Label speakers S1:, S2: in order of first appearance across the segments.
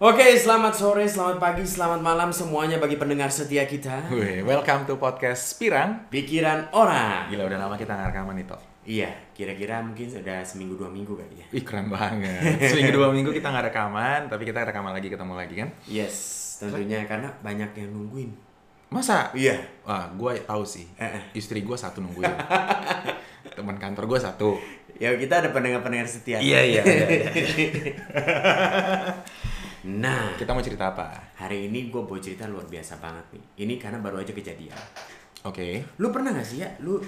S1: Oke, selamat sore, selamat pagi, selamat malam semuanya bagi pendengar setia kita.
S2: Weh, welcome to podcast Pirang.
S1: Pikiran orang.
S2: Gila udah lama kita nggak rekaman nih Top.
S1: Iya, kira-kira mungkin sudah seminggu dua minggu kali ya.
S2: Ih keren banget. Seminggu dua minggu kita nggak rekaman, tapi kita rekaman lagi ketemu lagi kan?
S1: Yes, tentunya karena banyak yang nungguin.
S2: Masa?
S1: Iya.
S2: Wah, gua tahu sih.
S1: Eh.
S2: Istri gua satu nungguin. Teman kantor gua satu.
S1: Ya kita ada pendengar-pendengar setia.
S2: Iya, iya, iya,
S1: nah,
S2: Kita mau cerita apa?
S1: hari ini gue bawa cerita luar biasa banget nih. Ini karena baru aja kejadian.
S2: Oke.
S1: Lu pernah gak sih ya, lu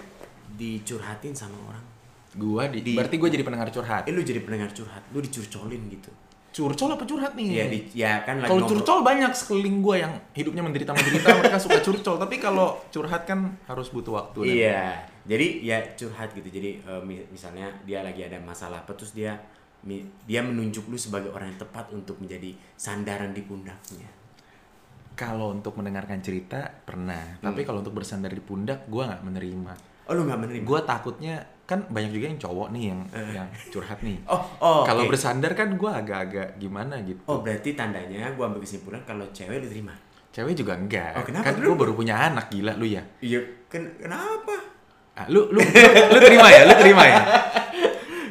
S1: dicurhatin sama orang?
S2: Gua di,
S1: Di-
S2: berarti gua jadi pendengar curhat.
S1: Eh, lu jadi pendengar curhat, lu dicurcolin gitu.
S2: Curcol apa curhat nih?
S1: Ya, di, ya kan lagi
S2: Kalau
S1: ngobrol-
S2: curcol banyak sekeliling gua yang hidupnya menderita menderita mereka suka curcol tapi kalau curhat kan harus butuh waktu dan-
S1: Iya. Jadi ya curhat gitu. Jadi eh, mi- misalnya dia lagi ada masalah apa terus dia mi- dia menunjuk lu sebagai orang yang tepat untuk menjadi sandaran di pundaknya.
S2: Kalau untuk mendengarkan cerita pernah,
S1: Hmm.
S2: tapi kalau untuk bersandar di pundak gua nggak menerima.
S1: Oh lu nggak menerima?
S2: Gua takutnya kan banyak juga yang cowok nih yang yang curhat nih.
S1: Eh. Oh, oh.
S2: kalau
S1: oke.
S2: bersandar kan gua agak-agak gimana gitu.
S1: Oh berarti tandanya gua ambil kesimpulan kalau cewek diterima.
S2: Cewek juga enggak.
S1: Oh, kenapa
S2: kan
S1: dulu?
S2: gua baru punya anak gila lu ya.
S1: Iya. Ken kenapa?
S2: Ah, lu, lu lu lu terima ya, lu terima ya.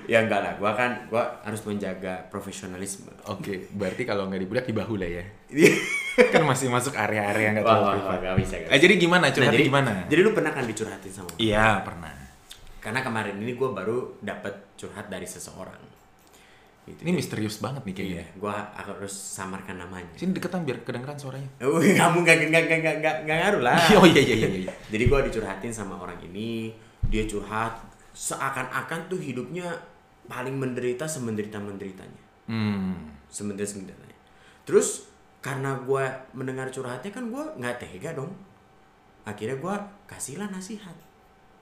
S1: Ya enggak lah. Gua kan gua harus menjaga profesionalisme.
S2: Oke, berarti kalau nggak di pundak di bahu lah ya. Kan masih masuk area-area nggak
S1: Wah,
S2: terlalu
S1: wah,
S2: privat.
S1: wah, nggak bisa, nggak
S2: Eh, jadi gimana
S1: Nah,
S2: curhatnya
S1: jadi
S2: gimana?
S1: Jadi lu pernah kan dicurhatin sama? orang?
S2: Iya, pernah.
S1: Karena kemarin ini gua baru dapat curhat dari seseorang. Gitu.
S2: Ini misterius banget nih kayaknya.
S1: Iya, gua harus samarkan namanya.
S2: Sini deketan biar kedengeran suaranya.
S1: Wih, kamu gak, gak, gak, gak, gak, gak ngaruh lah.
S2: oh iya iya iya iya.
S1: Jadi gue dicurhatin sama orang ini, dia curhat seakan-akan tuh hidupnya paling menderita semenderita-menderitanya.
S2: Hmm.
S1: Semenderita-menderitanya. Terus karena gue mendengar curhatnya kan gue nggak tega dong. Akhirnya gue kasihlah nasihat,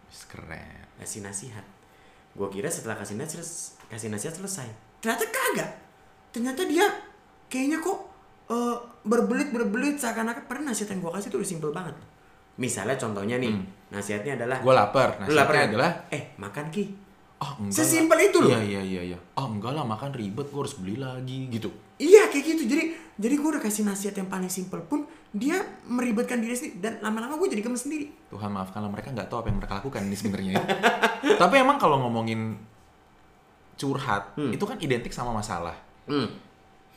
S2: Wis keren.
S1: kasih nasihat. Gue kira setelah kasih nasihat, kasih nasihat selesai. Ternyata kagak. Ternyata dia kayaknya kok eh, berbelit-berbelit seakan-akan pernah nasihat yang gue kasih tuh udah simple banget. Misalnya contohnya nih, nasihatnya adalah
S2: Gue lapar.
S1: Lu lapar
S2: Hmm. Nasihatnya
S1: nggak?
S2: adalah
S1: eh makan ki
S2: Oh enggak.
S1: Sesimpel
S2: lah.
S1: itu loh.
S2: Iya iya iya iya. Oh enggak lah makan ribet gue harus beli lagi gitu.
S1: iya kayak gitu jadi jadi gue udah kasih nasihat yang paling simple pun dia meribetkan diri sendiri dan lama-lama gue jadi gemes sendiri
S2: Tuhan maafkanlah mereka nggak tahu apa yang mereka lakukan ini sebenarnya. ya. Tapi emang kalau ngomongin curhat
S1: Hmm.
S2: itu kan identik sama masalah.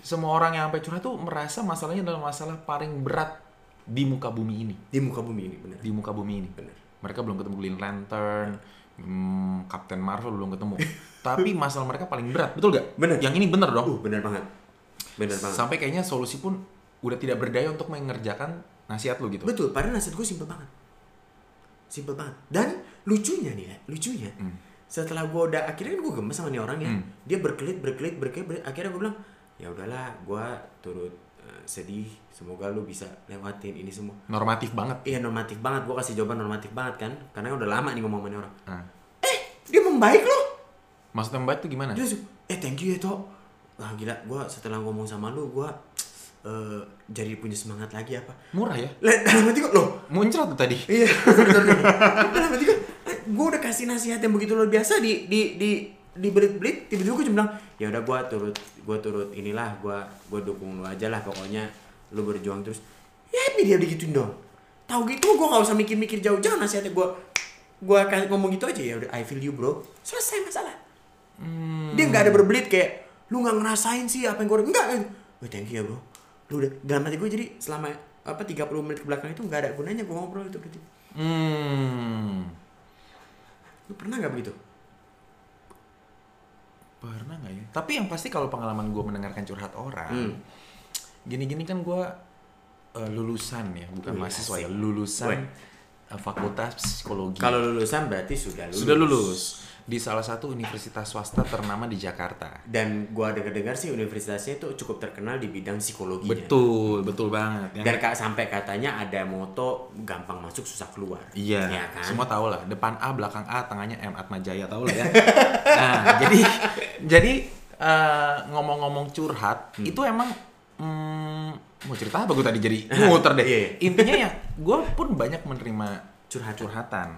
S2: Semua orang yang sampai curhat tuh merasa masalahnya adalah masalah paling berat di muka bumi ini.
S1: di muka bumi ini bener
S2: Di muka bumi ini.
S1: bener
S2: Mereka belum ketemu Green Lantern, hmm, Captain Marvel belum ketemu. Tapi masalah mereka paling berat, betul gak?
S1: Bener.
S2: Yang ini bener dong.
S1: uh bener banget bener banget
S2: sampai kayaknya solusi pun udah tidak berdaya untuk mengerjakan nasihat lu gitu.
S1: betul padahal nasihat gue simple banget simple banget dan lucunya nih ya lucunya setelah gue udah akhirnya kan gue gemes sama nih orang ya dia berkelit berkelit berkelit berkelit. akhirnya gue bilang ya udahlah gue turut eh, sedih semoga lu bisa lewatin ini semua
S2: Normatif banget.
S1: Iya normatif banget, gue kasih jawaban normatif banget kan Karena udah lama nih ngomong sama nih orang
S2: Nah,
S1: Eh, dia membaik loh
S2: maksudnya mbak tuh gimana?
S1: Dia langsung, eh thank you ya Tok Wah gila, gue setelah ngomong sama lu, gue jadi punya semangat lagi apa
S2: Murah ya?
S1: Lah, dalam hati gue, loh
S2: Muncrat tuh tadi.
S1: Iya, bener nih. dalam hati gue, gue eh, udah kasih nasihat yang begitu luar biasa di di di di belit-belit tiba-tiba gue cuma bilang ya udah gue turut gue turut inilah gue gue dukung lu aja lah pokoknya lu berjuang terus ya happy dia digituin dong tahu gitu gue gak usah mikir-mikir jauh jauh nasihatnya gue gue akan ngomong gitu aja ya udah I feel you bro selesai masalah dia nggak ada berbelit kayak lu nggak ngerasain sih apa yang gue enggak kan gue thank you ya bro lu udah dalam hati gue jadi selama apa 30 menit ke belakang itu nggak ada gunanya gue ngobrol itu gitu. berarti
S2: Hmm.
S1: Lu pernah nggak begitu?
S2: Pernah nggak ya? Tapi yang pasti kalau pengalaman gue mendengarkan curhat orang, gini-gini kan gue lulusan ya, bukan
S1: Wih,
S2: mahasiswa
S1: asik.
S2: ya, lulusan
S1: Wih.
S2: eh, fakultas psikologi.
S1: Kalau lulusan berarti sudah lulus.
S2: sudah lulus di salah satu universitas swasta ternama di Jakarta.
S1: Dan gua dengar-dengar sih universitasnya itu cukup terkenal di bidang psikologinya.
S2: Betul, betul banget. Yang-
S1: Dan kak sampai katanya ada moto gampang masuk susah keluar.
S2: Iya,
S1: Ya kan?
S2: semua tahu lah. Depan A, belakang A, tangannya M, Atma Jaya tahu lah ya. nah, jadi jadi eh, ngomong-ngomong curhat
S1: Hmm.
S2: itu emang mm, mau cerita apa gue tadi jadi muter deh.
S1: Iya, iya.
S2: Intinya ya, gue pun banyak menerima
S1: Curhatan. Hmm.
S2: curhatan.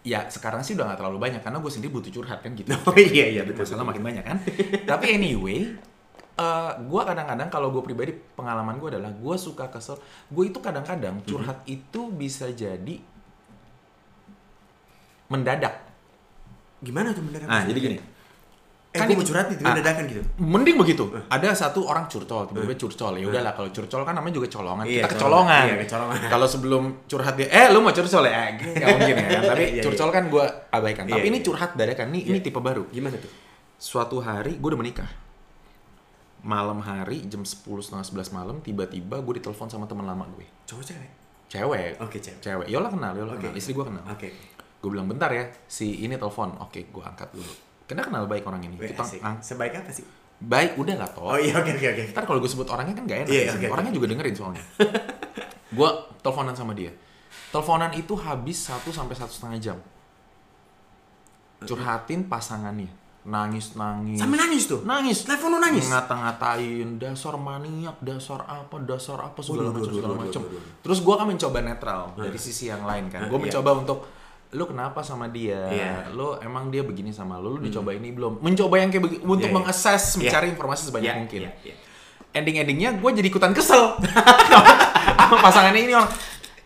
S2: ya sekarang sih udah nggak terlalu banyak karena gue sendiri butuh curhat kan gitu.
S1: Oh, iya, iya,
S2: Jadi
S1: betul,
S2: Masalah makin banyak kan. Tapi anyway, eh gue kadang-kadang kalau gue pribadi pengalaman gue adalah gue suka kesel. Gue itu kadang-kadang
S1: Mm-hmm.
S2: curhat itu bisa jadi mendadak.
S1: Gimana tuh mendadak?
S2: Nah, jadi gini.
S1: Eh,
S2: Kan
S1: gua
S2: ini-
S1: mau curhat nih, tiba-tiba
S2: Ah.
S1: dadakan gitu.
S2: Mending begitu. Ada satu orang curcol, tiba-tiba curcol. Ya udahlah kalau curcol kan namanya juga colongan.
S1: Eh. Iya,
S2: Kita
S1: colongan.
S2: kecolongan.
S1: Iya, kecolongan.
S2: Kalau sebelum curhat dia, eh lu mau curcol ya? Gak mungkin ya. kan? Tapi
S1: Iya, iya.
S2: curcol kan gue abaikan.
S1: Iya,
S2: Tapi ini
S1: iya.
S2: curhat dadakan. Ini ini tipe baru.
S1: Gimana tuh?
S2: Suatu hari gue udah menikah. Malam hari jam 10 setengah 11 malam tiba-tiba gue ditelepon sama teman lama gue.
S1: Cowok cewek.
S2: Cewek.
S1: Oke, cewek.
S2: Cewek. Yola kenal,
S1: Oh.
S2: Yola
S1: Oke. Ah.
S2: kenal. Istri gue kenal.
S1: Oke.
S2: Gue bilang bentar ya, si ini telepon. Oke, gue angkat dulu. Karena kenal baik orang ini.
S1: Weh,
S2: Kita
S1: asik.
S2: ang-
S1: Sebaik apa sih?
S2: baik udah lah toh.
S1: Oh iya, oke oke oke.
S2: Ntar kalau gue sebut orangnya kan gak enak.
S1: Iya,
S2: di sini.
S1: oke, oke.
S2: orangnya juga dengerin soalnya. gue teleponan sama dia. Teleponan itu habis 1 sampai satu setengah jam. Curhatin pasangannya. Nangis nangis.
S1: Sambil nangis tuh.
S2: Nangis.
S1: Telepon lu nangis?
S2: Ngata-ngatain dasar maniak, dasar apa, dasar apa segala
S1: Waduh,
S2: macam
S1: waduh,
S2: segala
S1: waduh,
S2: macam.
S1: waduh, waduh.
S2: Terus gue kan mencoba netral dari sisi yang lain kan. Gue
S1: Iya.
S2: mencoba untuk lu kenapa sama dia?
S1: Iya. Hmm.
S2: Lu emang dia begini sama lu? Lu dicoba ini belum? Mencoba yang kayak begi- untuk
S1: iya. Iya.
S2: mengassess, mencari informasi sebanyak
S1: Iya,
S2: mungkin
S1: iya, iya.
S2: ending-endingnya gue jadi ikutan kesel sama pasangannya ini orang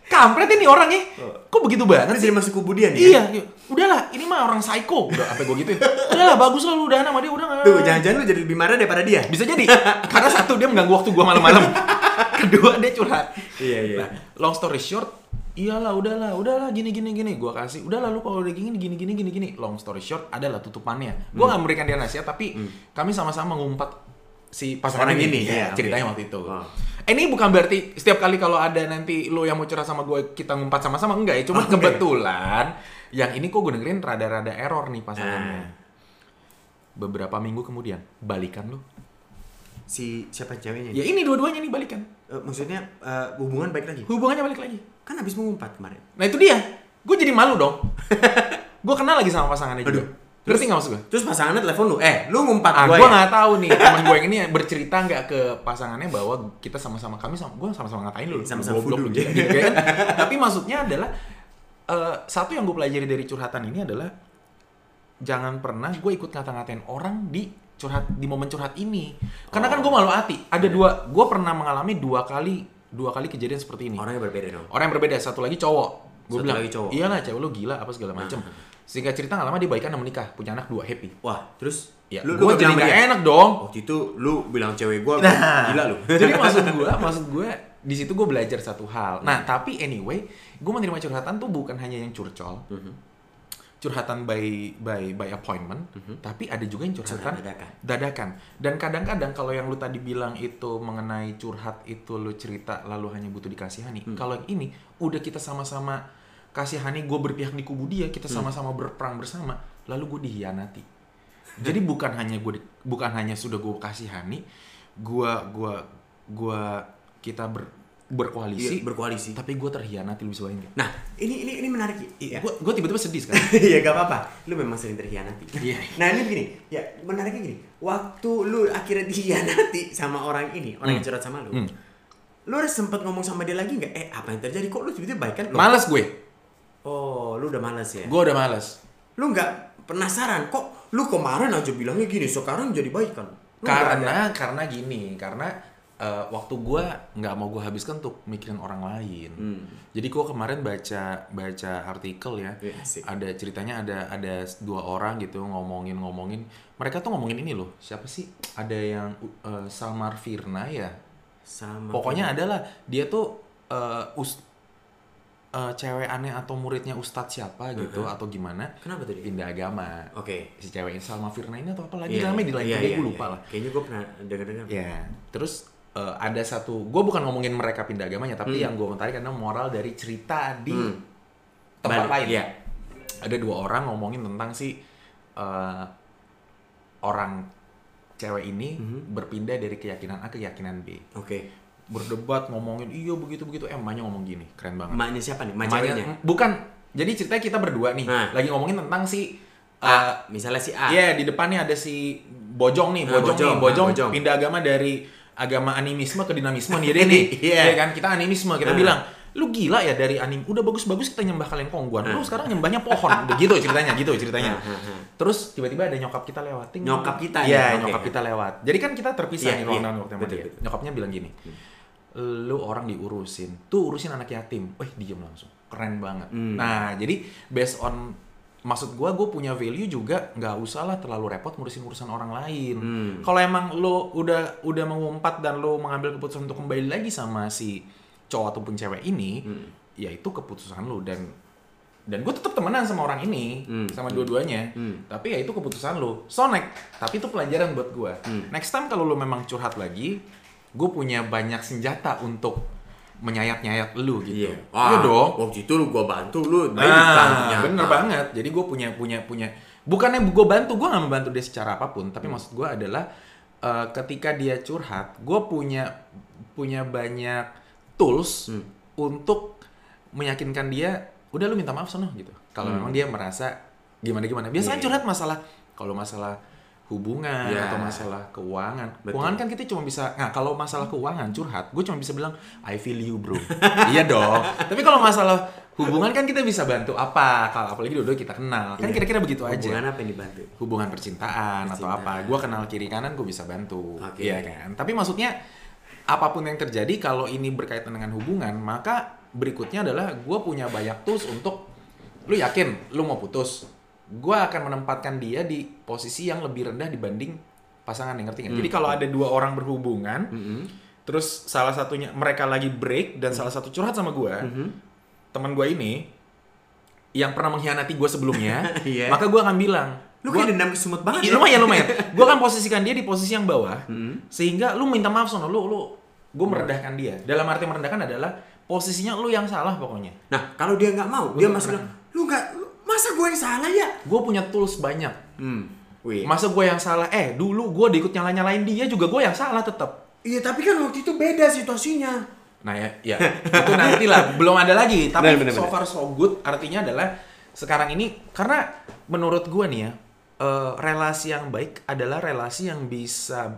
S2: kampret ini orang ya
S1: Oh.
S2: kok begitu banget
S1: Terus
S2: sih
S1: jadi masuk kubu dia nih. ya?
S2: iya iya. udahlah ini mah orang psycho udah apa gue gituin udahlah bagus lah lu udah sama dia udah
S1: Tuh, jangan-jangan lu jadi lebih marah daripada dia.
S2: bisa jadi karena satu dia mengganggu waktu gue malam-malam kedua dia curhat
S1: Iya, iya.
S2: Nah, long story short iyalah udahlah udahlah gini gini gini gue kasih udahlah lu kalau udah gini gini gini gini gini long story short adalah
S1: Hmm.
S2: tutupannya gue nggak memberikan dia nasihat tapi kami sama-sama mengumpat si pasangan
S1: Orang
S2: ini
S1: Hmm. ini,
S2: ya,
S1: iya,
S2: ceritanya
S1: oke.
S2: waktu itu
S1: Oh.
S2: Eh, ini bukan berarti setiap kali kalau ada nanti lu yang mau curhat sama gue kita ngumpat sama-sama enggak ya cuma
S1: Oh, enggak ya?
S2: kebetulan yang ini kok gue dengerin rada-rada error nih
S1: Ah.
S2: pasangannya beberapa minggu kemudian balikan lu
S1: Si siapa ceweknya?
S2: Ya ini dua-duanya nih balikan.
S1: Eh, maksudnya eh, hubungan baik lagi.
S2: Hubungannya balik lagi.
S1: Kan habis mengumpat kemarin.
S2: Nah itu dia. Gue jadi malu dong. gue kenal lagi sama pasangannya
S1: Aduh.
S2: juga. Ngerti nggak maksud gue?
S1: Terus pasangannya telepon lu, "Eh, lu ngumpat
S2: Ah,
S1: gua."
S2: gue
S1: ya?
S2: nggak tahu nih teman gue yang ini bercerita nggak ke pasangannya bahwa kita sama-sama kami sama gue sama-sama ngatain lu
S1: Sama-sama
S2: Goblok
S1: fudu.
S2: lu, gila, gitu kan. tapi maksudnya adalah eh, satu yang gue pelajari dari curhatan ini adalah jangan pernah gue ikut ngata-ngatain orang di curhat di momen curhat ini karena kan gue
S1: Oh.
S2: malu hati
S1: Iya.
S2: ada dua gue pernah mengalami dua kali dua kali kejadian seperti ini
S1: Orangnya berbeda dong.
S2: orang yang berbeda satu lagi cowok gue
S1: Satu
S2: bilang
S1: lagi cowok. Nah.
S2: iyalah cewek lu gila apa segala macem sehingga cerita nggak lama dia baikan dan menikah punya anak dua happy
S1: Wah, terus
S2: ya
S1: lu
S2: gue
S1: lu
S2: jadi
S1: bilang
S2: nggak
S1: sama dia,
S2: enak dong
S1: Waktu itu lu bilang cewek gua
S2: Nah.
S1: gila lu. Iya,
S2: jadi maksud gue maksud gue di situ gue belajar satu hal nah tapi anyway gue menerima curhatan tuh bukan hanya yang curcol curhatan by by by appointment tapi ada juga yang curhatan
S1: Curhat dadakan.
S2: dadakan dan kadang-kadang kalau yang lu tadi bilang itu mengenai curhat itu lu cerita lalu hanya butuh dikasihani kalau yang ini udah kita sama-sama kasihani gue berpihak di kubu dia kita sama-sama berperang bersama lalu gue dihianati jadi bukan hanya gue bukan hanya sudah gue kasihani gue gua gua kita ber- berkoalisi
S1: Iya, berkoalisi.
S2: tapi gue terhianati lu bisa bayangin
S1: Nah, ini ini ini menarik. Iya.
S2: gue gue tiba-tiba sedih sekarang
S1: Iya gak apa-apa, lu memang sering terhianati.
S2: Iya.
S1: Nah ini begini, ya menariknya gini, waktu lu akhirnya dihianati sama orang ini, orang yang curhat sama lu,
S2: Hmm.
S1: lu udah sempet ngomong sama dia lagi nggak? Eh apa yang terjadi? Kok lu tiba-tiba baik kan?
S2: Males gue.
S1: oh, lu udah males ya?
S2: Gue udah males.
S1: Lu nggak penasaran kok? Lu kemarin aja bilangnya gini, sekarang jadi baik kan? Lu nggak ada-
S2: Karena karena gini, karena eh, waktu gue nggak mau gue habiskan untuk mikirin orang lain.
S1: Hmm.
S2: Jadi gue kemarin baca baca artikel ya,
S1: Iya, asik.
S2: ada ceritanya ada ada dua orang gitu ngomongin ngomongin. Mereka tuh ngomongin ini loh. Siapa sih? Ada yang eh, Salmar Firna ya.
S1: sama.
S2: Pokoknya adalah dia tuh eh, us eh, cewek aneh atau muridnya ustadz siapa gitu atau gimana
S1: kenapa tuh dia? Oke.
S2: pindah agama. si cewek ini Salma Firna ini atau apa lagi
S1: Iya,
S2: namanya di lain
S1: iya,
S2: video
S1: iya,
S2: gue
S1: iya.
S2: lupa lah
S1: Kayaknya gue pernah dengar-dengar.
S2: ya terus eh, ada satu gue bukan ngomongin mereka pindah agamanya tapi yang gue menarik karena moral dari cerita di
S1: Hmm.
S2: tempat
S1: Balik,
S2: lain
S1: iya.
S2: ada dua orang ngomongin tentang si eh, orang cewek ini
S1: Hmm.
S2: berpindah dari keyakinan A ke keyakinan B
S1: Oke.
S2: berdebat ngomongin iya begitu begitu emangnya ngomong gini keren banget
S1: Emaknya siapa nih? Emak
S2: Emaknya-
S1: ceweknya?
S2: bukan jadi ceritanya kita berdua nih
S1: Nah.
S2: lagi ngomongin tentang si eh,
S1: A, misalnya si A.
S2: Iya, di depannya ada si Bojong nih,
S1: Ah,
S2: Bojong,
S1: Bojong.
S2: nih, Bojong,
S1: Ah, Bojong.
S2: pindah agama dari agama animisme ke dinamisme nih dia nih.
S1: Iya.
S2: Iya kan? Kita animisme, kita
S1: Ah.
S2: bilang lu gila ya dari anime udah bagus-bagus kita nyembah kalian kongguan
S1: Ah.
S2: lu sekarang nyembahnya pohon begitu ceritanya gitu ceritanya terus tiba-tiba ada nyokap kita lewat Ting.
S1: Nyokap kita ya?
S2: iya
S1: Oke.
S2: nyokap kita lewat jadi kan kita terpisah
S1: Iya,
S2: nih ruang
S1: iya.
S2: dalam waktu sama
S1: Betul,
S2: dia.
S1: betul.
S2: gitu. nyokapnya bilang gini lu orang diurusin tuh urusin anak yatim wah diem langsung keren banget
S1: Hmm.
S2: nah jadi based on maksud gua gue punya value juga nggak usah lah terlalu repot ngurusin urusan orang lain
S1: Hmm.
S2: kalau emang lo udah udah mengumpat dan lo mengambil keputusan untuk kembali lagi sama si cowok ataupun cewek ini
S1: Hmm.
S2: ya itu keputusan lo dan dan gue tetap temenan sama orang ini
S1: Hmm.
S2: sama dua-duanya
S1: Hmm.
S2: tapi ya itu keputusan lo sonek tapi itu pelajaran buat gue
S1: Hmm.
S2: next time kalau lo memang curhat lagi gue punya banyak senjata untuk menyayat-nyayat lo gitu
S1: Iya.
S2: Iya
S1: Wah,
S2: dong
S1: Waktu itu lu gua bantu lu. baik kan,
S2: Nah,
S1: ternyata.
S2: bener banget. Jadi gue punya punya punya. Bukannya gue bantu, gue nggak membantu dia secara apapun. Tapi maksud gue adalah eh, ketika dia curhat, gue punya punya banyak tools untuk meyakinkan dia. Udah lu minta maaf sono gitu. Kalau memang dia merasa gimana gimana. Biasanya curhat masalah kalau masalah hubungan
S1: Ya.
S2: atau masalah keuangan.
S1: Betul.
S2: Keuangan kan kita cuma bisa, nah kalau masalah keuangan curhat, gue cuma bisa bilang I feel you bro. iya dong. Tapi kalau masalah hubungan kan kita bisa bantu apa? Kalau apalagi dulu kita kenal, kan kira-kira begitu aja.
S1: Hubungan
S2: Hubungan,
S1: apa yang dibantu?
S2: percintaan, atau
S1: Percintaan.
S2: apa? Gue kenal kiri kanan, gue bisa bantu.
S1: Oke.
S2: Iya kan. Tapi maksudnya apapun yang terjadi kalau ini berkaitan dengan hubungan, maka berikutnya adalah gue punya banyak tools untuk lu yakin lu mau putus. Gue akan menempatkan dia di posisi yang lebih rendah dibanding pasangan
S1: Hmm.
S2: yang ngerti nggak? Jadi kalau ada dua orang berhubungan,
S1: Mm-mm.
S2: terus salah satunya mereka lagi break dan
S1: Hmm.
S2: salah satu curhat sama gue teman gue ini yang pernah mengkhianati gue sebelumnya
S1: Iya.
S2: maka gue akan bilang
S1: Lu
S2: gua-
S1: kayak dendam kesemut banget ya?
S2: Iya, lumayan lumayan gue akan posisikan dia di posisi yang bawah
S1: Hmm.
S2: sehingga lu minta maaf sono lu lu gue merendahkan dia dalam arti merendahkan adalah posisinya lu yang salah pokoknya
S1: Nah, kalau dia nggak mau,
S2: Lu
S1: dia
S2: nggak
S1: masih bilang,
S2: pernah.
S1: lu nggak, lu- masa gue yang salah ya?
S2: gue punya tools banyak
S1: Hmm. Wih.
S2: masa gue yang salah eh dulu gue diikut nyala nyalain dia juga gue yang salah tetap
S1: Iya, tapi kan waktu itu beda situasinya.
S2: Nah ya, ya. itu nanti lah, belum ada lagi. Tapi
S1: Benar, benar,
S2: so
S1: benar.
S2: far so good artinya adalah sekarang ini karena menurut gua nih ya eh, relasi yang baik adalah relasi yang bisa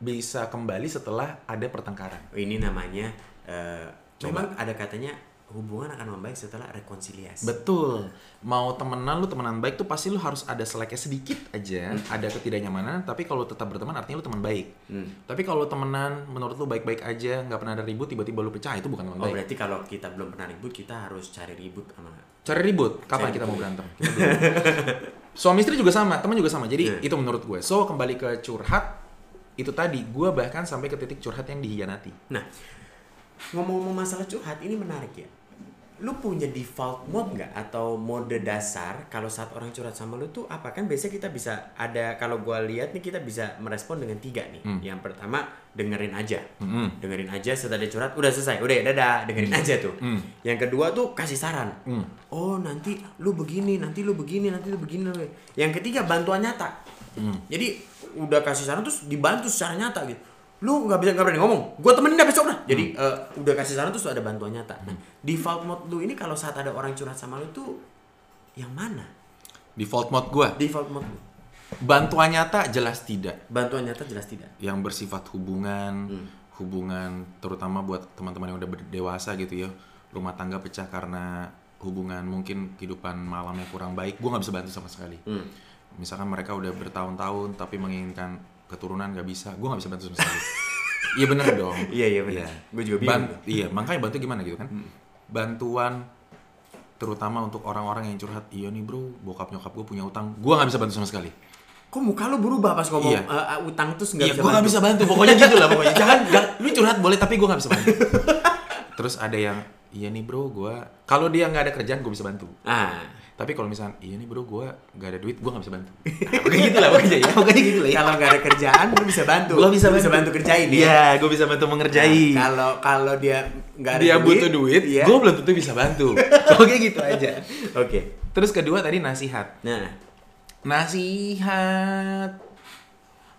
S2: bisa kembali setelah ada pertengkaran.
S1: Ini namanya, eh,
S2: Coba.
S1: memang ada katanya hubungan akan membaik setelah rekonsiliasi.
S2: Betul. Mau temenan lu temenan baik tuh pasti lu harus ada seleknya sedikit aja, ada ketidaknyamanan, tapi kalau tetap berteman artinya lu teman baik.
S1: Hmm.
S2: Tapi kalau temenan menurut lu baik-baik aja, nggak pernah ada ribut, tiba-tiba lu pecah itu bukan teman
S1: Oh
S2: baik.
S1: berarti kalau kita belum pernah ribut kita harus cari ribut sama
S2: Cari ribut, kapan
S1: Cari
S2: kita mau
S1: ribut.
S2: berantem? Kita belum. Suami istri juga sama, teman juga sama. Jadi
S1: Iya.
S2: itu menurut gue. So kembali ke curhat, itu tadi gue bahkan sampai ke titik curhat yang dihianati.
S1: Nah ngomong-ngomong masalah curhat ini menarik ya. Lu punya default mode nggak atau mode dasar kalau saat orang curhat sama lu tuh apa kan biasanya kita bisa ada kalau gua lihat nih kita bisa merespon dengan tiga nih. Yang pertama dengerin aja.
S2: Mm-mm.
S1: Dengerin aja setelah dia curhat udah selesai. Udah ya dadah dengerin aja tuh. Yang kedua tuh kasih saran. Oh nanti lu begini, nanti lu begini, nanti lu begini. lu- Yang ketiga bantuan nyata. Jadi udah kasih saran terus dibantu secara nyata gitu. Lu nggak bisa nggak berani ngomong. Gue temenin dah besok dah.
S2: Hmm.
S1: Jadi eh, udah kasih saran terus ada bantuan nyata. Nah, default mode lu ini kalau saat ada orang curhat sama lu tuh yang mana?
S2: Default mode gue,
S1: Default mode lu.
S2: bantuan nyata jelas tidak.
S1: Bantuan nyata jelas tidak.
S2: yang bersifat hubungan,
S1: Hmm.
S2: hubungan terutama buat teman-teman yang udah dewasa gitu ya, rumah tangga pecah karena hubungan mungkin kehidupan malamnya kurang baik, gue nggak bisa bantu sama sekali.
S1: Hmm.
S2: Misalkan mereka udah bertahun-tahun tapi menginginkan keturunan nggak bisa, gue nggak bisa bantu sama sekali. Iya bener dong.
S1: Iya, iya, bener. Gua juga bingung. Hmm.
S2: Ban- iya makanya bantu gimana gitu kan? Bantuan terutama untuk orang-orang yang curhat, iya nih bro, bokap nyokap gue punya utang, gue nggak bisa bantu sama sekali.
S1: Kok muka lu berubah pas ngomong
S2: Iya.
S1: eh, eh, utang terus nggak
S2: Iya,
S1: bisa
S2: gue gak
S1: bantu?
S2: bisa bantu. Pokoknya gitu lah pokoknya. Jangan, jangan- lu curhat boleh tapi gue gak bisa bantu. Terus ada yang, iya nih bro, gue kalau dia nggak ada kerjaan gue bisa bantu.
S1: Ah.
S2: Tapi kalau misalnya, iya nih bro, gue nggak ada duit, gue gak bisa bantu. Nah, pokoknya gitu lah pokoknya ya. Pokoknya gitu lah ya.
S1: Kalau nggak ada kerjaan lu bisa bantu.
S2: Gue bisa,
S1: Lu bisa bantu kerjain ya.
S2: Iya, gue bisa bantu mengerjai.
S1: Nah, Kalau kalau dia nggak ada
S2: dia butuh duit,
S1: iya.
S2: gue belum tentu bisa bantu. Pokoknya gitu aja.
S1: Oke.
S2: Terus kedua tadi nasihat.
S1: Nah,
S2: Nasihat.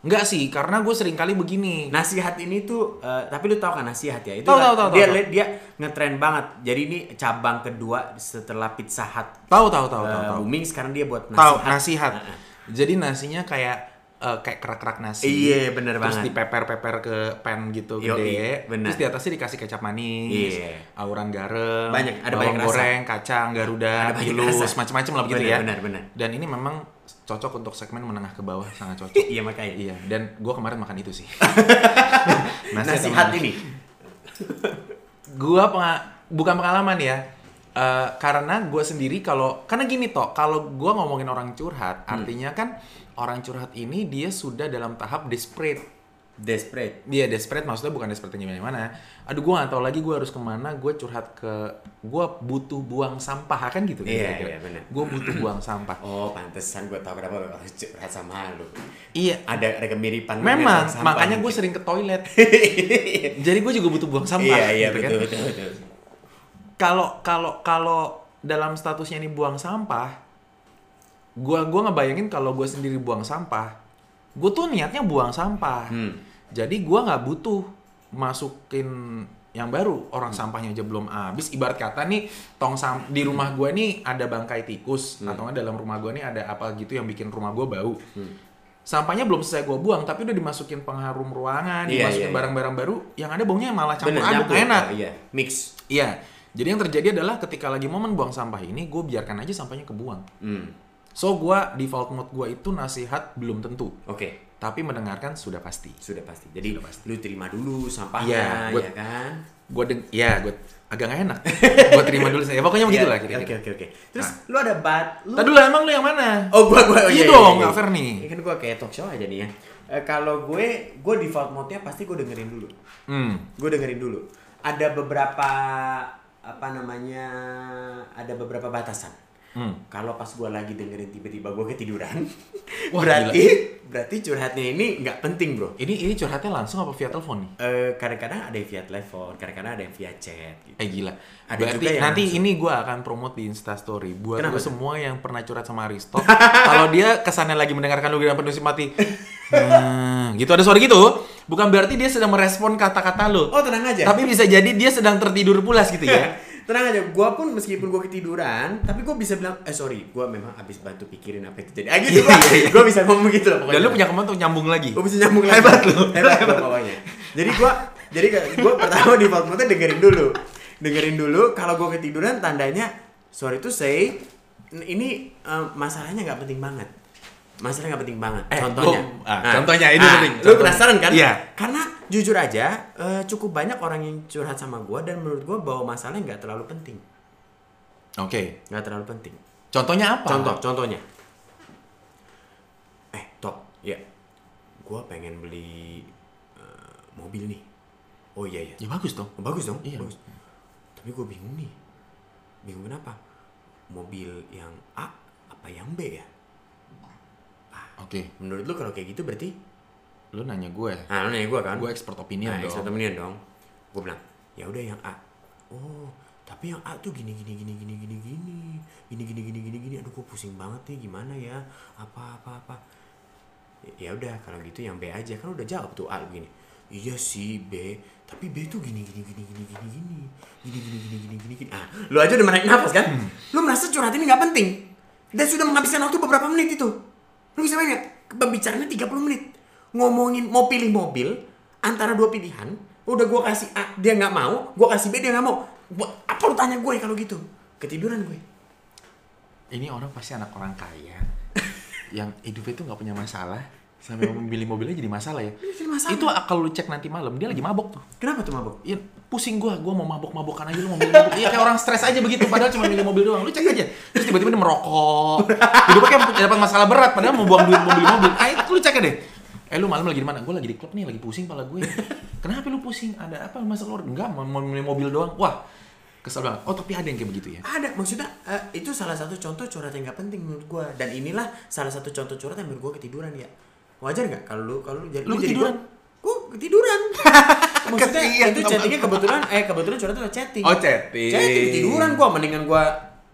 S2: Enggak sih, karena gue sering kali begini.
S1: nasihat ini tuh eh, tapi lu tau kan nasihat ya? Itu
S2: Tau,
S1: kan-
S2: tau, tau,
S1: dia
S2: tau,
S1: dia ngetren banget. Jadi ini cabang kedua setelah Pizza Hut
S2: Tahu tahu tahu
S1: eh,
S2: tahu tahu.
S1: booming sekarang dia buat
S2: tahu
S1: nasihat.
S2: nasihat.
S1: Heeh.
S2: Jadi nasinya kayak eh, kayak kerak-kerak nasi.
S1: Iya, bener
S2: terus
S1: banget.
S2: dipeper-peper ke pan gitu
S1: Yoi,
S2: gede.
S1: bener.
S2: Terus di atasnya dikasih kecap manis,
S1: Iya.
S2: auran garam,
S1: Banyak, ada
S2: bawang
S1: banyak rasa.
S2: goreng, kacang, garuda,
S1: Ada banyak
S2: pilus,
S1: rasa.
S2: macam-macam lah begitu
S1: Bener,
S2: ya.
S1: bener, bener.
S2: Dan ini memang cocok untuk segmen menengah ke bawah, sangat cocok.
S1: Iya makanya.
S2: Iya, dan gue kemarin makan itu sih.
S1: Nasihat
S2: teman.
S1: ini.
S2: Gua penga- bukan pengalaman ya. Eh, karena gue sendiri kalau karena gini toh kalau gue ngomongin orang curhat
S1: Hmm.
S2: artinya kan orang curhat ini dia sudah dalam tahap desperate
S1: Desperate.
S2: dia desperate maksudnya bukan desperate yang mana aduh gue nggak tahu lagi gue harus kemana gue curhat ke gue butuh buang sampah kan gitu kan
S1: Iya,
S2: kira-kira.
S1: iya, benar.
S2: gue butuh buang sampah
S1: Oh, pantesan gue tau kenapa lo curhat sama lu.
S2: iya
S1: Ada ada kemiripan
S2: memang
S1: dengan sampah. gitu.
S2: makanya gue sering ke toilet jadi gue juga butuh buang sampah
S1: Iya, iya
S2: gitu kan.
S1: betul, betul, betul.
S2: kalau kalau kalau dalam statusnya ini buang sampah gua gua ngebayangin kalau gue sendiri buang sampah gue tuh niatnya buang sampah
S1: Hmm.
S2: jadi gua nggak butuh masukin yang baru orang sampahnya aja belum habis ibarat kata nih tong sam di rumah gua nih ada bangkai tikus
S1: Hmm.
S2: atau nggak dalam rumah gua nih ada apa gitu yang bikin rumah gua bau
S1: Hmm.
S2: sampahnya belum selesai gua buang tapi udah dimasukin pengharum ruangan
S1: Iya,
S2: dimasukin
S1: iya, iya.
S2: barang-barang baru yang ada baunya malah campur
S1: Bener,
S2: aduk
S1: nyapu.
S2: nggak enak
S1: Oh, Iya, mix.
S2: Iya. Jadi yang terjadi adalah ketika lagi momen buang sampah ini, gue biarkan aja sampahnya kebuang.
S1: Hmm.
S2: So gue default mode gue itu nasihat belum tentu,
S1: Oke,
S2: tapi mendengarkan sudah pasti.
S1: sudah pasti. Jadi lu terima dulu
S2: Iya,
S1: sampahnya,
S2: gua-
S1: ya kan?
S2: Gue deng, ya gue agak gak enak. gue terima dulu saya. Pokoknya begitu lah
S1: Iya,
S2: kira-kira.
S1: Oke, oke, oke. Terus lu ada bat lu
S2: Tadi dulu emang lu yang mana?
S1: Oh gua gua oh,
S2: Iya dong, nggak fair nih.
S1: Ini kan gua kayak talk show aja nih ya. Eh, kalau gue gue default mode-nya pasti gue dengerin dulu.
S2: Hmm.
S1: Gue dengerin dulu. Ada beberapa apa namanya? Ada beberapa batasan.
S2: Hmm.
S1: Kalau pas gue lagi dengerin tiba-tiba gue ketiduran,
S2: Wah,
S1: berarti berarti curhatnya ini nggak penting bro.
S2: Ini ini curhatnya langsung apa via telepon nih?
S1: Eh, kadang-kadang ada yang via telepon, kadang-kadang ada yang via chat. Gitu.
S2: Eh gila.
S1: Ada
S2: Berarti
S1: juga yang
S2: nanti
S1: langsung.
S2: ini gue akan promote di Instastory buat
S1: Kenapa
S2: lu
S1: tuh?
S2: semua yang pernah curhat sama Aristo. Kalau dia kesannya lagi mendengarkan lu dengan penuh simpati. "Hmm," gitu ada suara gitu. Bukan berarti dia sedang merespon kata-kata lu.
S1: Oh tenang aja.
S2: Tapi bisa jadi dia sedang tertidur pulas gitu ya.
S1: tenang aja. Gue pun meskipun gue ketiduran, tapi gue bisa bilang, eh sorry, gue memang abis bantu pikirin apa yang terjadi. Ah gitu
S2: Iya, iya, iya.
S1: Gue bisa ngomong gitu loh.
S2: Dan lu punya kemampuan untuk nyambung lagi.
S1: Gue bisa nyambung lagi.
S2: Hebat lu.
S1: Hebat, gua pokoknya. Jadi gue, jadi gue pertama di mode dengerin dulu, dengerin dulu. Kalau gue ketiduran, tandanya sorry to say, n- ini eh, masalahnya nggak penting banget. Masalahnya nggak penting banget.
S2: Eh,
S1: contohnya, Nah,
S2: gua- ah, contohnya, ini penting.
S1: Lu
S2: Contohnya.
S1: penasaran kan?
S2: Iya.
S1: Karena jujur aja, eh, cukup banyak orang yang curhat sama gue dan menurut gue bahwa masalahnya nggak terlalu penting.
S2: Oke.
S1: Nggak terlalu penting.
S2: Contohnya apa?
S1: Contoh, contohnya. Eh, Top. Ya. Gua pengen beli eh, mobil nih. Oh iya iya.
S2: Ya bagus dong.
S1: Oh, bagus dong.
S2: Iya.
S1: Bagus. Tapi gue bingung nih. Bingung kenapa? Mobil yang A apa yang B ya?
S2: Oke.
S1: Menurut lu kalau kayak gitu berarti?
S2: Lu nanya gue.
S1: Nah, lu nanya gue kan.
S2: Gue expert opinion
S1: nah,
S2: dong.
S1: expert opinion dong. Gue bilang, ya udah yang A. Oh, tapi yang A tuh gini gini gini gini gini gini gini gini gini gini gini. Aduh, gue pusing banget nih. Gimana ya? Apa apa apa? Ya- Ya udah, kalau gitu yang B aja kan udah jawab tuh A begini. Iya sih B, tapi B tuh gini gini gini gini gini gini gini gini gini gini gini gini. Ah, lu aja udah menarik nafas kan? Lu merasa curhat ini nggak penting dan sudah menghabiskan waktu beberapa menit itu. Lu bisa bayangin nggak? pembicaraannya 30 menit ngomongin mau pilih mobil antara dua pilihan udah gua kasih A dia nggak mau gua kasih B dia nggak mau Buat apa lu tanya gue kalau gitu ketiduran gue
S2: ini orang pasti anak orang kaya yang hidupnya itu nggak punya masalah sampai memilih mobilnya jadi masalah ya
S1: Iya, jadi masalah.
S2: itu kalau lu cek nanti malam dia lagi mabok tuh
S1: kenapa tuh mabok
S2: ya pusing gua gua mau mabok mabokan aja lu mau milih mobil ya kayak orang stres aja begitu padahal cuma milih mobil doang lu cek aja terus tiba-tiba dia merokok hidupnya kayak dapat masalah berat padahal mau buang duit mau beli mobil ah itu lu cek aja deh eh lu malam lagi di mana gua lagi di klub nih lagi pusing pala gue kenapa lu pusing ada apa masa lu enggak mau mau milih mobil doang wah kesel banget oh tapi ada yang kayak begitu ya
S1: ada maksudnya eh, itu salah satu contoh curhat yang nggak penting menurut gua dan inilah salah satu contoh curhat yang menurut gua ketiduran ya wajar nggak kalau lu kalau lu jadi
S2: Lu
S1: jadi
S2: ketiduran?
S1: gua, Gua ketiduran maksudnya
S2: Kesian
S1: itu
S2: teman.
S1: chattingnya kebetulan eh kebetulan curhat itu chatting
S2: Oh, chatting.
S1: chatting ketiduran gua mendingan gua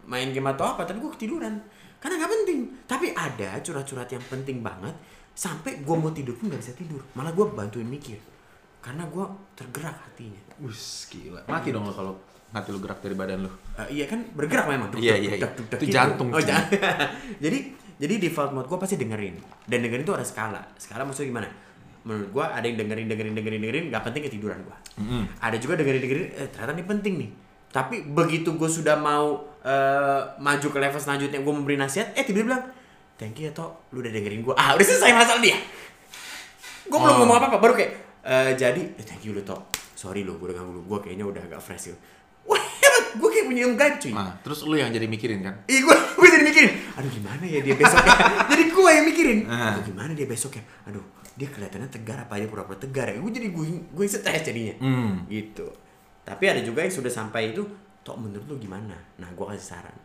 S1: main game atau apa tapi gua ketiduran karena nggak penting tapi ada curhat-curhat yang penting banget sampai gua mau tidur pun nggak bisa tidur malah gua bantuin mikir karena gua tergerak hatinya
S2: Wus, gila. Mati dong lo kalau hati lu gerak dari badan lu.
S1: Eh, iya kan bergerak memang.
S2: Iya, iya, iya. Itu jantung,
S1: Oh,
S2: cuy.
S1: jantung. Jadi jadi default mode gue pasti dengerin dan dengerin tuh ada skala skala maksudnya gimana menurut gue ada yang dengerin dengerin dengerin dengerin nggak penting ketiduran gue
S2: Mm-mm.
S1: ada juga dengerin dengerin eh, ternyata ini penting nih tapi begitu gue sudah mau eh, maju ke level selanjutnya gue memberi nasihat eh tiba-tiba bilang thank you ya Tok, lu udah dengerin gue ah udah selesai masalah dia gue belum
S2: Oh.
S1: ngomong apa apa baru kayak eh, jadi eh, thank you lu Tok. sorry lu gue udah ganggu lu gue kayaknya udah agak fresh lu wah gue kayak punya ilmu gaib, cuy
S2: Nah, terus lu yang jadi mikirin kan?
S1: Iya gue, gue jadi mikirin, aduh gimana ya dia besok Jadi gue yang mikirin,
S2: Ah.
S1: aduh gimana dia besok ya Aduh dia kelihatannya tegar apa dia pura-pura tegar ya Gue jadi gue, gue stres jadinya
S2: Hmm.
S1: Gitu Tapi ada juga yang sudah sampai itu Tok menurut lu gimana? Nah gue kasih saran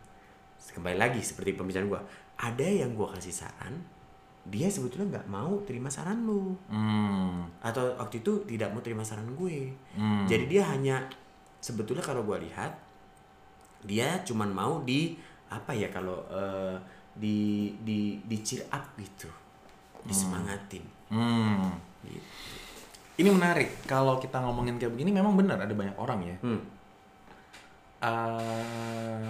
S1: Kembali lagi seperti pembicaraan gue Ada yang gue kasih saran Dia sebetulnya nggak mau terima saran lu
S2: Hmm.
S1: atau waktu itu tidak mau terima saran gue.
S2: Hmm.
S1: Jadi dia hanya sebetulnya kalau gue lihat dia cuman mau di apa ya kalau eh, di di di cheer up gitu, disemangatin.
S2: Hmm.
S1: Gitu.
S2: Ini menarik. Kalau kita ngomongin kayak begini memang benar ada banyak orang ya.
S1: Hmm.
S2: Eh,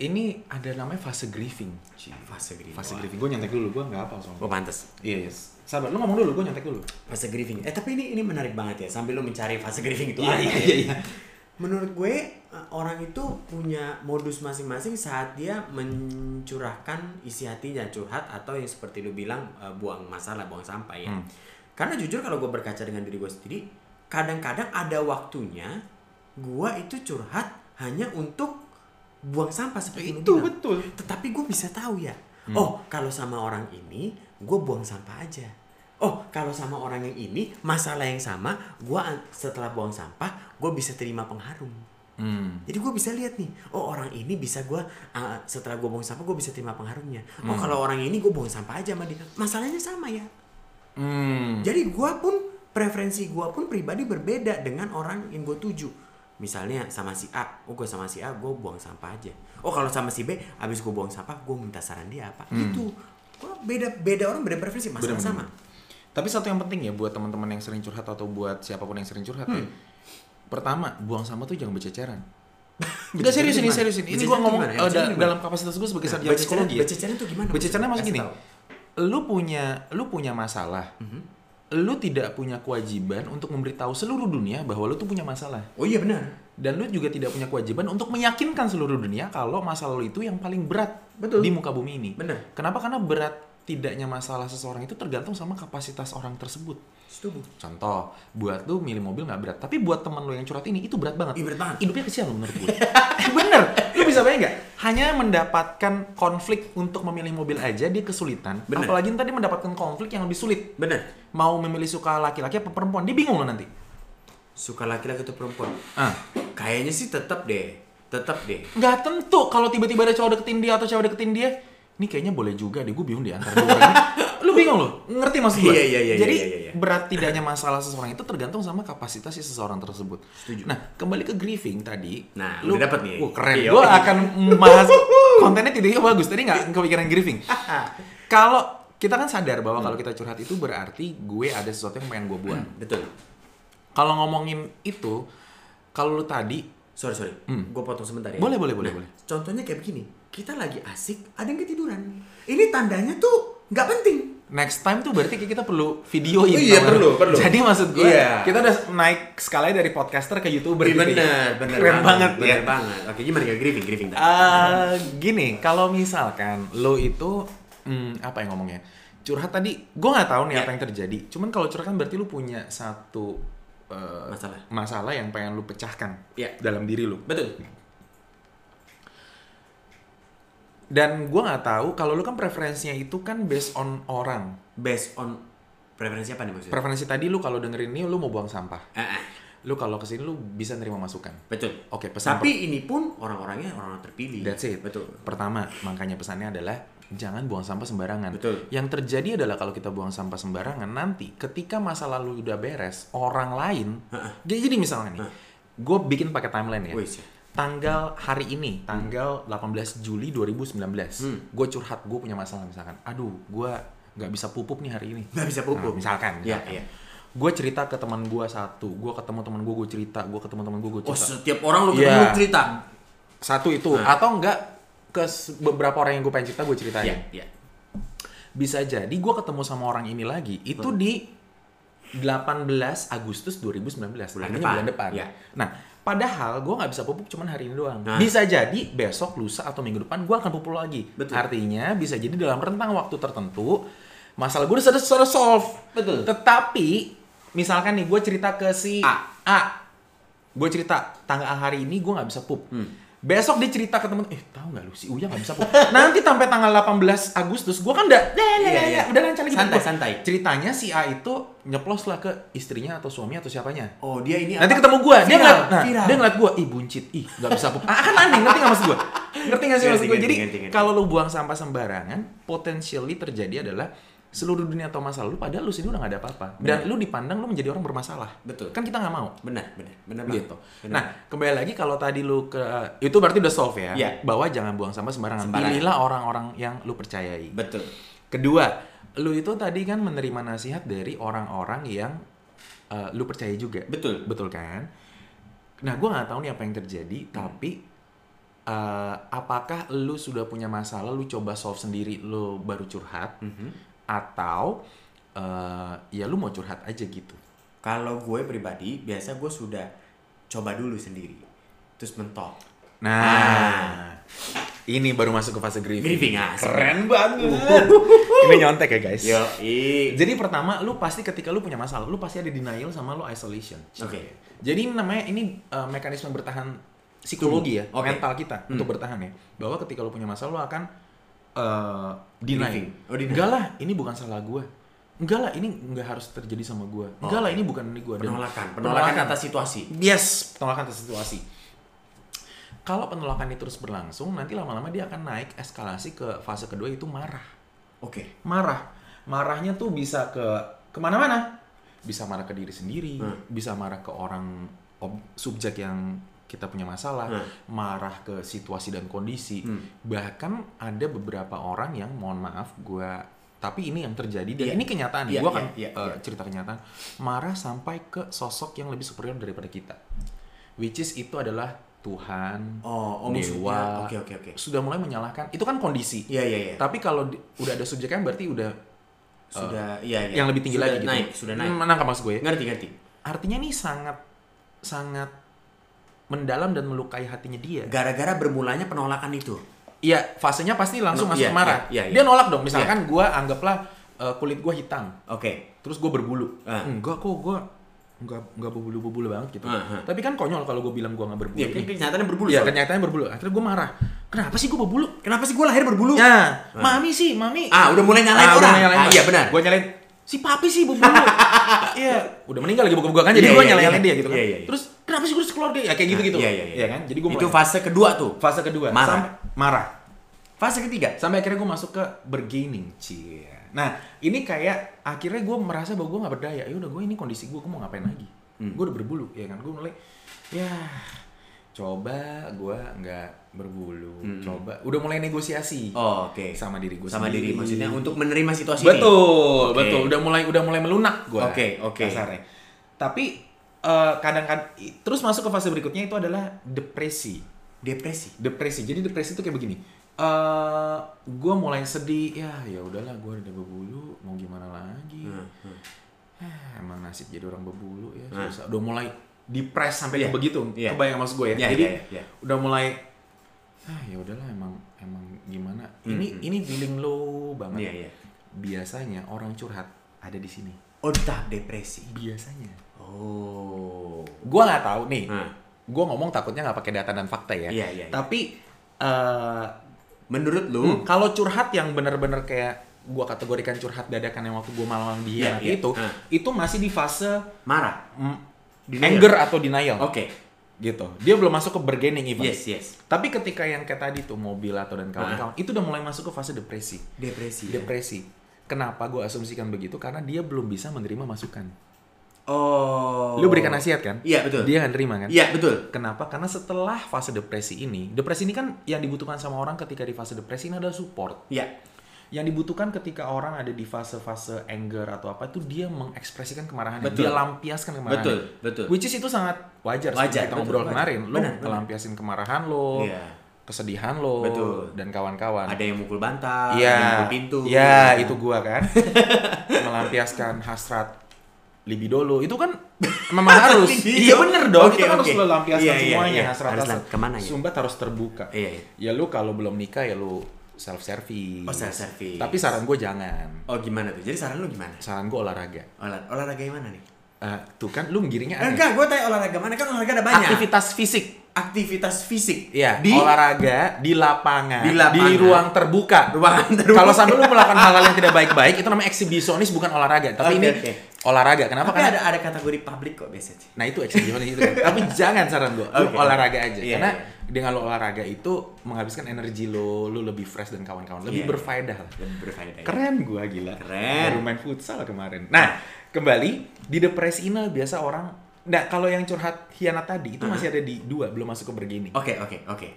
S2: ini ada namanya fase grieving. Ci.
S1: Fase grieving.
S2: Fase grieving. Gue nyantek dulu, gue nggak apa soalnya.
S1: Gue pantas.
S2: Iya, yes. Sabar, lu ngomong dulu, gue nyantek dulu.
S1: Fase grieving. Eh tapi ini ini menarik banget ya sambil lo mencari fase grieving itu.
S2: Iya,
S1: apa
S2: iya,
S1: ya.
S2: iya, iya.
S1: Menurut gue eh, orang itu punya modus masing-masing saat dia mencurahkan isi hatinya curhat atau yang seperti lu bilang eh, buang masalah buang sampah ya.
S2: Hmm.
S1: Karena jujur kalau gue berkaca dengan diri gue sendiri, kadang-kadang ada waktunya gue itu curhat hanya untuk buang sampah seperti lu
S2: Itu
S1: bilang.
S2: betul.
S1: Tetapi gue bisa tahu ya. Oh, kalau sama orang ini, gue buang sampah aja. Oh, kalau sama orang yang ini, masalah yang sama, gue setelah buang sampah, gue bisa terima pengharum.
S2: Hmm.
S1: Jadi gue bisa lihat nih, oh orang ini bisa gue setelah gue buang sampah, gue bisa terima pengharumnya. Oh, kalau orang ini gue buang sampah aja sama dia, masalahnya sama ya.
S2: Hmm.
S1: Jadi gue pun preferensi gue pun pribadi berbeda dengan orang yang gue tuju. Misalnya sama si A, oh gue sama si A gue buang sampah aja. Oh kalau sama si B, abis gue buang sampah gue minta saran dia apa? Itu gue beda beda orang Hmm. beda preferensi masalah sama.
S2: Bener-bener. Tapi satu yang penting ya buat teman-teman yang sering curhat atau buat siapapun yang sering curhat
S1: Hmm.
S2: ya. Pertama, buang sampah tuh jangan berceceran. Enggak serius ini, serius ini. Ini
S1: Berceceran
S2: gua
S1: tuh
S2: ngomong
S1: gimana?
S2: eh, da-
S1: Berceceran gimana?
S2: dalam kapasitas gue sebagai
S1: Nah,
S2: sarjana
S1: berceceran-
S2: psikologi. ya.
S1: berceceran tuh gimana
S2: Berceceran
S1: maksudnya?
S2: masih gini.
S1: Kasih
S2: Lu punya lu punya masalah.
S1: Mhm.
S2: Lu tidak punya kewajiban untuk memberitahu seluruh dunia bahwa lu tuh punya masalah.
S1: Oh iya benar,
S2: Dan lu juga tidak punya kewajiban untuk meyakinkan seluruh dunia kalau masalah lu itu yang paling berat
S1: Betul.
S2: di muka bumi ini.
S1: Bener.
S2: Kenapa? Karena berat tidaknya masalah seseorang itu tergantung sama kapasitas orang tersebut.
S1: setuju.
S2: Contoh, buat lu milih mobil nggak berat, tapi buat temen lu yang curhat ini itu berat
S1: Ih,
S2: banget.
S1: berat banget.
S2: Hidupnya kecil loh menurut gue. Eh, Bener, lu bisa bayangin nggak? Hanya mendapatkan konflik untuk memilih mobil aja dia kesulitan.
S1: Bener.
S2: Apalagi tadi mendapatkan konflik yang lebih sulit.
S1: Benar.
S2: Mau memilih suka laki-laki apa perempuan, dia bingung loh nanti.
S1: Suka laki-laki atau perempuan?
S2: Ah,
S1: Kayaknya sih tetap deh, tetap deh.
S2: nggak tentu kalau tiba-tiba ada cowok deketin dia atau cewek deketin dia. Ini kayaknya boleh juga deh, gue bingung deh antara dua orang ini." Lu bingung loh, ngerti maksud gue?
S1: Iya, iya, iya,
S2: Jadi
S1: iya, iya, iya.
S2: berat tidaknya masalah seseorang itu tergantung sama kapasitas si seseorang tersebut.
S1: Setuju.
S2: Nah, kembali ke grieving tadi.
S1: Nah, udah dapet nih.
S2: Wah, keren.
S1: Iya.
S2: Gue akan membahas kontennya titiknya bagus. Tadi nggak kepikiran grieving. kalau kita kan sadar bahwa kalau kita curhat itu berarti gue ada sesuatu yang pengen gue buang.
S1: Betul.
S2: Kalau ngomongin itu, kalau lu tadi,
S1: Sorry sorry, gue potong sebentar ya.
S2: Hmm. Boleh, boleh, boleh, boleh.
S1: Contohnya kayak begini, kita lagi asik, ada yang ketiduran. Ini tandanya tuh nggak penting.
S2: next time tuh berarti kita perlu videoin.
S1: Iya,
S2: tau kan?
S1: perlu, perlu.
S2: Jadi maksud gue,
S1: Iya.
S2: kita udah naik skalanya dari podcaster ke youtuber.
S1: Bener,
S2: gitu ya.
S1: bener, bener
S2: Keren banget, ya.
S1: bener banget. Oke, gimana ya grieving, grieving? tak?
S2: Eh, gini, kalau misalkan lo itu hmm, apa yang ngomongnya? Curhat tadi, gue nggak tahu nih
S1: Iya.
S2: apa yang terjadi. Cuman kalau curhat kan berarti lo punya satu eh,
S1: Masalah.
S2: masalah yang pengen lo pecahkan
S1: Iya.
S2: dalam diri lo.
S1: Betul.
S2: Dan gue nggak tahu kalau lo kan preferensinya itu kan based on orang.
S1: Based on preferensi apa nih maksudnya?
S2: Preferensi tadi lo kalau dengerin ini lo mau buang sampah.
S1: Ah, ah,
S2: Lo kalau kesini lo bisa nerima masukan.
S1: betul.
S2: Oke, pesan
S1: Tapi ini pun orang-orangnya orang terpilih.
S2: That's it.
S1: Betul.
S2: Pertama, makanya pesannya adalah jangan buang sampah sembarangan.
S1: Betul.
S2: Yang terjadi adalah kalau kita buang sampah sembarangan nanti ketika masa lalu udah beres, orang lain jadi, jadi misalnya nih, gue bikin pakai timeline ya.
S1: Wih, sih.
S2: Tanggal hari ini, tanggal 18 Juli 2019,
S1: Hmm.
S2: gue curhat gue punya masalah misalkan. Aduh, gue nggak bisa pupup nih hari ini.
S1: Nggak bisa pupuk.
S2: Nah, misalkan,
S1: Iya,
S2: misalkan.
S1: iya.
S2: Gue cerita ke teman gue satu, gue ketemu teman gue gue cerita, gue ketemu teman gue gue
S1: Oh,
S2: cerita
S1: setiap orang lu ketemu
S2: Iya.
S1: cerita.
S2: satu itu atau enggak ke se- beberapa orang yang gue pengen cerita gue ceritain
S1: Nah. Iya, iya.
S2: bisa jadi gue ketemu sama orang ini lagi itu di 18 Agustus 2019
S1: Bulan
S2: artinya
S1: depan.
S2: bulan depan
S1: Iya.
S2: nah padahal gue nggak bisa pupuk cuman hari ini doang
S1: Nah.
S2: bisa jadi besok lusa atau minggu depan gue akan pupuk lagi
S1: Betul.
S2: artinya bisa jadi dalam rentang waktu tertentu masalah gue udah sudah sudah solve
S1: Betul.
S2: tetapi misalkan nih gue cerita ke si
S1: A.
S2: gue cerita tanggal hari ini gue nggak bisa pup
S1: Hmm.
S2: besok dia cerita ke temen eh tahu nggak lu si Uya nggak bisa pup nanti sampai tanggal 18 Agustus gue kan udah ya, ya,
S1: Iya,
S2: ya,
S1: iya.
S2: ya, udah lancar lagi
S1: Santai,
S2: pup gua.
S1: santai.
S2: ceritanya si A itu nyeplos lah ke istrinya atau suami atau siapanya
S1: Oh, dia ini
S2: nanti
S1: apa?
S2: ketemu gue dia
S1: Viral,
S2: ngeliat nah,
S1: viral.
S2: dia ngeliat gue ih buncit ih nggak bisa pup ah kan aneh ngerti nggak maksud gue ngerti nggak sih
S1: Ngerti,
S2: maksud gue
S1: ngerti,
S2: jadi
S1: ngerti, ngerti.
S2: kalau lu buang sampah sembarangan potentially terjadi adalah seluruh dunia atau masalah lu padahal lu sendiri udah gak ada apa-apa dan lu dipandang lu menjadi orang bermasalah
S1: Betul.
S2: kan kita nggak mau
S1: Benar, benar, benar banget.
S2: gitu.
S1: Benar.
S2: Nah, kembali lagi kalau tadi lu ke itu berarti udah solve ya,
S1: Iya.
S2: bahwa jangan buang sampah sembarangan.
S1: Sembarangan.
S2: Pilihlah orang-orang yang lu percayai.
S1: betul.
S2: Kedua, lu itu tadi kan menerima nasihat dari orang-orang yang eh, lu percaya juga.
S1: Betul.
S2: Betul kan? Nah, gua nggak tahu nih apa yang terjadi,
S1: Hmm.
S2: tapi eh, apakah lu sudah punya masalah, lu coba solve sendiri, lu baru curhat,
S1: Mhm.
S2: atau eh, ya lu mau curhat aja gitu?
S1: Kalau gue pribadi, biasa gue sudah coba dulu sendiri. Terus mentok.
S2: Nah,
S1: Ah.
S2: ini baru masuk ke fase grieving.
S1: Grieving, ah,
S2: Keren banget. ini nyontek ya guys.
S1: Uh, Yo, i.
S2: Jadi pertama, lu pasti ketika lu punya masalah, lu pasti ada denial sama lu isolation.
S1: Oke.
S2: Jadi ini namanya ini uh, mekanisme bertahan psikologi ya,
S1: Oke. Hmm.
S2: mental kita untuk bertahan ya. Bahwa ketika lu punya masalah, lu akan uh, deny.
S1: Grieving. Oh, deny.
S2: Enggak lah, ini bukan salah gua. Enggak lah, ini nggak harus terjadi sama gua. Enggak lah, ini bukan ini gua. Dan-
S1: Oh, Penolakan, penolakan atas situasi.
S2: Yes, penolakan atas situasi. Kalau penolakan itu terus berlangsung, nanti lama-lama dia akan naik eskalasi ke fase kedua itu marah.
S1: Oke.
S2: Marah. Marahnya tuh bisa ke kemana-mana. Bisa marah ke diri sendiri,
S1: Hmm.
S2: bisa marah ke orang ob- subjek yang kita punya masalah,
S1: Hmm.
S2: marah ke situasi dan kondisi.
S1: Hmm.
S2: Bahkan ada beberapa orang yang mohon maaf gua tapi ini yang terjadi
S1: Iya.
S2: dan ini kenyataan nih.
S1: Iya, iya,
S2: gua kan
S1: iya,
S2: eh,
S1: iya.
S2: cerita kenyataan marah sampai ke sosok yang lebih superior daripada kita which is itu adalah Tuhan
S1: Oh, oh maksudnya.
S2: dewa
S1: Oke, oke, oke.
S2: sudah mulai menyalahkan itu kan kondisi
S1: Iya, iya, iya.
S2: tapi kalau di- udah ada subjeknya berarti udah
S1: Sudah, iya, iya.
S2: eh, yang lebih tinggi
S1: Sudah
S2: lagi gitu
S1: Naik, sudah naik.
S2: Hmm, nangkap maksud gue ya?
S1: Ngerti, ngerti.
S2: artinya nih sangat sangat mendalam dan melukai hatinya dia
S1: Gara-gara bermulanya penolakan itu.
S2: Iya, fasenya pasti langsung
S1: No,
S2: masuk
S1: iya,
S2: marah.
S1: iya, iya,
S2: Dia
S1: iya.
S2: nolak dong. Misalkan gua anggaplah uh, kulit gua hitam,
S1: Oke.
S2: terus gua berbulu.
S1: Ah.
S2: Enggak kok gua enggak enggak berbulu-bulu banget gitu.
S1: Ah, ah.
S2: Tapi kan konyol kalau gua bilang gua enggak berbulu.
S1: Iya,
S2: nih.
S1: kan kenyataannya berbulu.
S2: Iya,
S1: soalnya.
S2: kenyataannya berbulu. Akhirnya gua marah. Kenapa sih gua berbulu?
S1: Kenapa sih gue lahir berbulu?
S2: Ya, mami sih, mami.
S1: Ah, udah mulai nyalain
S2: Ah, udah
S1: orang.
S2: mulai nyalain
S1: Ah,
S2: orang.
S1: iya, benar.
S2: Gua nyalain si papi sih berbulu. Iya, udah meninggal lagi buka-buka kan jadi
S1: Iya,
S2: gua
S1: iya,
S2: nyalain
S1: iya.
S2: dia gitu kan.
S1: Iya, iya, iya.
S2: Terus kenapa sih gua harus keluar dia? Ya kayak gitu-gitu.
S1: Iya, iya, iya.
S2: kan? Jadi gua
S1: itu
S2: mulai-
S1: fase kedua tuh.
S2: fase kedua.
S1: Marah.
S2: Sampai- marah.
S1: Fase ketiga.
S2: Sampai akhirnya gue masuk ke bergaining, cie. Nah, ini kayak akhirnya gue merasa bahwa gue nggak berdaya. Ya udah gue ini kondisi gue, gue mau ngapain lagi?
S1: Hmm.
S2: Gue udah berbulu, ya kan? Gue mulai, ya coba gue nggak berbulu, coba. Udah mulai negosiasi
S1: Hmm. Oh, oke.
S2: sama diri gue
S1: Sama diri
S2: sendiri.
S1: maksudnya untuk menerima situasi ini.
S2: Hmm. Betul,
S1: Oke.
S2: betul. Udah mulai udah mulai melunak gue.
S1: Oke, oke.
S2: Kasarnya. Tapi eh, kadang-kadang terus masuk ke fase berikutnya itu adalah depresi
S1: Depresi.
S2: depresi jadi depresi itu kayak begini eh gue mulai sedih ya ya udahlah gue udah berbulu mau gimana lagi
S1: Hmm,
S2: Eh, emang nasib jadi orang berbulu ya susah udah mulai depres
S1: Hmm. Iya.
S2: sampai ke begitu
S1: Iya.
S2: kebayang maksud gue ya
S1: Iya,
S2: jadi
S1: iya, iya.
S2: udah mulai ah ya udahlah emang emang gimana ini ini feeling low
S1: Hmm,
S2: banget
S1: Iya, iya.
S2: biasanya orang curhat ada di sini
S1: Oh, di tahap depresi.
S2: biasanya
S1: Oh.
S2: gue nggak tahu nih
S1: Hmm.
S2: gue ngomong takutnya nggak pakai data dan fakta
S1: Iya,
S2: ya
S1: iya, iya.
S2: tapi eh
S1: Menurut lu,
S2: Hmm, kalau curhat yang bener-bener kayak gua kategorikan curhat dadakan yang waktu gua malam-malam dia
S1: Iya, iya.
S2: itu,
S1: Ah.
S2: itu masih di fase
S1: marah.
S2: mm,
S1: Denial.
S2: anger atau denial.
S1: Oke.
S2: Gitu. Dia belum masuk ke bargaining even.
S1: Yes, Hmm. yes.
S2: Tapi ketika yang kayak tadi tuh mobil atau dan kawan-kawan, itu udah mulai masuk ke fase depresi.
S1: Depresi. ya?
S2: Depresi. Kenapa gua asumsikan begitu? Karena dia belum bisa menerima masukan.
S1: oh.
S2: Lu berikan nasihat kan?
S1: Iya, betul.
S2: Dia nggak nerima kan?
S1: Iya, betul.
S2: Kenapa? Karena setelah fase depresi ini, depresi ini kan yang dibutuhkan sama orang ketika di fase depresi ini adalah support.
S1: Iya.
S2: yang dibutuhkan ketika orang ada di fase-fase anger atau apa itu dia mengekspresikan kemarahannya
S1: Betul.
S2: dia lampiaskan kemarahannya
S1: Betul, betul.
S2: which is itu sangat wajar, seperti
S1: Wajar,
S2: kita
S1: betul,
S2: ngobrol
S1: wajar.
S2: kemarin lo
S1: Benar, benar.
S2: ngelampiasin kemarahan lo
S1: Iya.
S2: kesedihan lo
S1: Betul.
S2: dan kawan-kawan.
S1: Ada yang mukul bantal, ada
S2: Iya.
S1: yang mukul pintu.
S2: Iya,
S1: gitu.
S2: itu gua kan. Melampiaskan hasrat libido lo. Itu kan memang harus.
S1: Libido?
S2: iya bener dong.
S1: Oke,
S2: itu kan
S1: oke.
S2: harus lo lampiaskan
S1: Iya, iya,
S2: semuanya
S1: iya.
S2: hasrat
S1: Harus
S2: hasrat.
S1: lah, kemana ya?
S2: Sumbat harus terbuka.
S1: Iya, iya.
S2: Ya lu kalau belum nikah ya lu self service.
S1: Oh, self-service.
S2: Tapi saran gue jangan.
S1: Oh gimana tuh? Jadi saran lu gimana?
S2: Saran gue olahraga.
S1: Olah, olahraga yang mana nih?
S2: Eh, tuh kan lu ngiringnya
S1: Eh,
S2: aneh.
S1: Enggak, gue tanya olahraga mana kan olahraga ada banyak.
S2: Aktivitas fisik.
S1: Aktivitas fisik.
S2: Iya,
S1: Di
S2: olahraga di lapangan,
S1: Di lapangan.
S2: di ruang terbuka.
S1: ruangan terbuka.
S2: Kalau sampai lu melakukan hal-hal yang tidak baik-baik itu namanya eksibisionis bukan olahraga, tapi
S1: Oke,
S2: ini
S1: oke.
S2: olahraga. Kenapa?
S1: Tapi
S2: Karena
S1: ada ada kategori publik kok biasanya.
S2: nah itu eksibisionis itu. kan. tapi jangan saran gua, lu
S1: Oke.
S2: olahraga aja.
S1: Iya,
S2: Karena
S1: iya.
S2: dengan lu olahraga itu menghabiskan energi lo, lu lebih fresh dan kawan-kawan,
S1: Iya,
S2: lebih
S1: iya.
S2: berfaedah lah.
S1: Lebih berfaedah. ya.
S2: Keren gua gila.
S1: Keren.
S2: Baru main futsal kemarin. Nah, kembali di depresi ini biasa orang Nah, kalau yang curhat hianat tadi itu masih ada di dua, belum masuk ke bergini.
S1: Oke, oke, oke.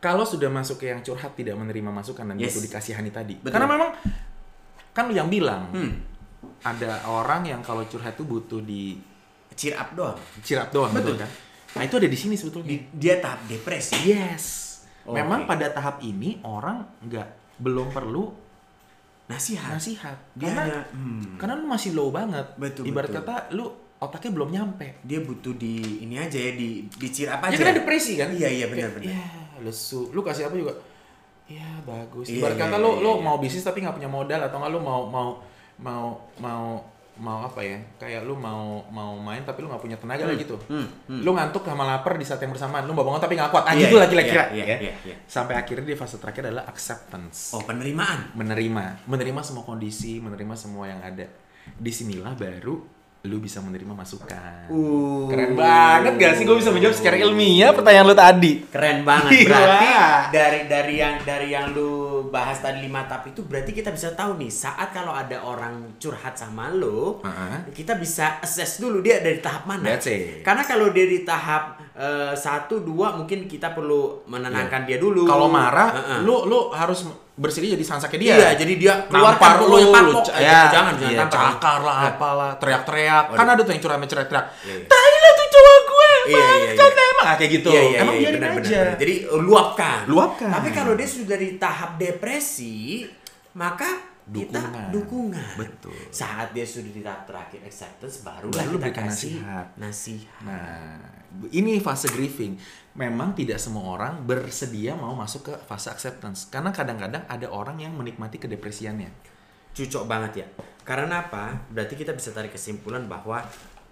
S2: Kalau sudah masuk ke yang curhat tidak menerima masukan dan
S1: Yes.
S2: butuh dikasihani tadi.
S1: Betul.
S2: Karena memang kan lu yang bilang
S1: Hmm.
S2: ada orang yang kalau curhat tuh butuh di
S1: Cheer up doang.
S2: cirap doang
S1: Betul.
S2: betul, kan? Nah, itu ada di sini sebetulnya.
S1: Di- dia tahap depresi.
S2: Yes.
S1: Oke.
S2: Memang pada tahap ini orang nggak belum perlu
S1: Nasihat.
S2: nasihat.
S1: Dia
S2: Karena
S1: hanya, hmm.
S2: karena lu masih low banget.
S1: Betul,
S2: Ibarat
S1: betul.
S2: kata lu otaknya belum nyampe.
S1: Dia butuh di ini aja ya di di cheer up aja.
S2: Ya karena depresi kan?
S1: Iya, iya, benar,
S2: Kayak,
S1: benar.
S2: Ya, lesu. Lu kasih apa juga? Ya, bagus.
S1: Iya,
S2: Ibarat
S1: iya,
S2: kata
S1: iya,
S2: lu
S1: iya,
S2: lu
S1: iya.
S2: mau bisnis tapi nggak punya modal atau nggak lu mau mau mau mau mau apa ya? Kayak lu mau mau main tapi lu nggak punya tenaga lah gitu.
S1: hmm, hmm.
S2: Lu ngantuk sama lapar di saat yang bersamaan, lu mau bangun tapi nggak kuat. Ah,
S1: Iya,
S2: gitu
S1: iya,
S2: lah kira-kira.
S1: iya,
S2: ya.
S1: iya, iya.
S2: Sampai akhirnya di fase terakhir adalah acceptance.
S1: Oh, penerimaan.
S2: Menerima, menerima semua kondisi, menerima semua yang ada. Disinilah baru lu bisa menerima masukan.
S1: Uh.
S2: Keren banget gak sih gue bisa menjawab secara ilmiah pertanyaan lu tadi?
S1: Keren banget.
S2: Gila.
S1: Berarti dari dari yang dari yang lu bahas tadi lima tahap itu berarti kita bisa tahu nih saat kalau ada orang curhat sama lu,
S2: Heeh.
S1: kita bisa assess dulu dia dari tahap mana.
S2: That's it.
S1: Karena kalau dia di tahap eh, satu dua mungkin kita perlu menenangkan dia dulu.
S2: Iya. Kalau marah,
S1: Heeh.
S2: lu lu harus bersedia Uh-uh. jadi sangsaknya dia.
S1: Iya, jadi dia keluarkan
S2: nampar lu,
S1: yang
S2: lu,
S1: kapok.
S2: c-
S1: Eh,
S2: ya,
S1: jangan, jangan
S2: iya,
S1: tampar.
S2: cakar lah, apalah, teriak-teriak. Kan ada tuh yang curhat teriak-teriak.
S1: Iya, iya.
S2: Tai lah tuh cowok gue,
S1: Iya, iya,
S2: bangsat emang kayak gitu.
S1: Iya, iya,
S2: emang
S1: iya,
S2: biarin
S1: benar, benar,
S2: aja.
S1: benar. Jadi eh, luapkan.
S2: Luapkan.
S1: Tapi kalau dia sudah di tahap depresi, maka kita
S2: Dukungan.
S1: dukungan.
S2: Betul.
S1: Saat dia sudah di tahap terakhir acceptance, barulah
S2: Baru
S1: kita
S2: berikan
S1: kasih
S2: nasihat.
S1: nasihat.
S2: Nah, ini fase grieving. Memang tidak semua orang bersedia mau masuk ke fase acceptance karena kadang-kadang ada orang yang menikmati kedepresiannya.
S1: Cucok banget ya. Karena apa? Berarti kita bisa tarik kesimpulan bahwa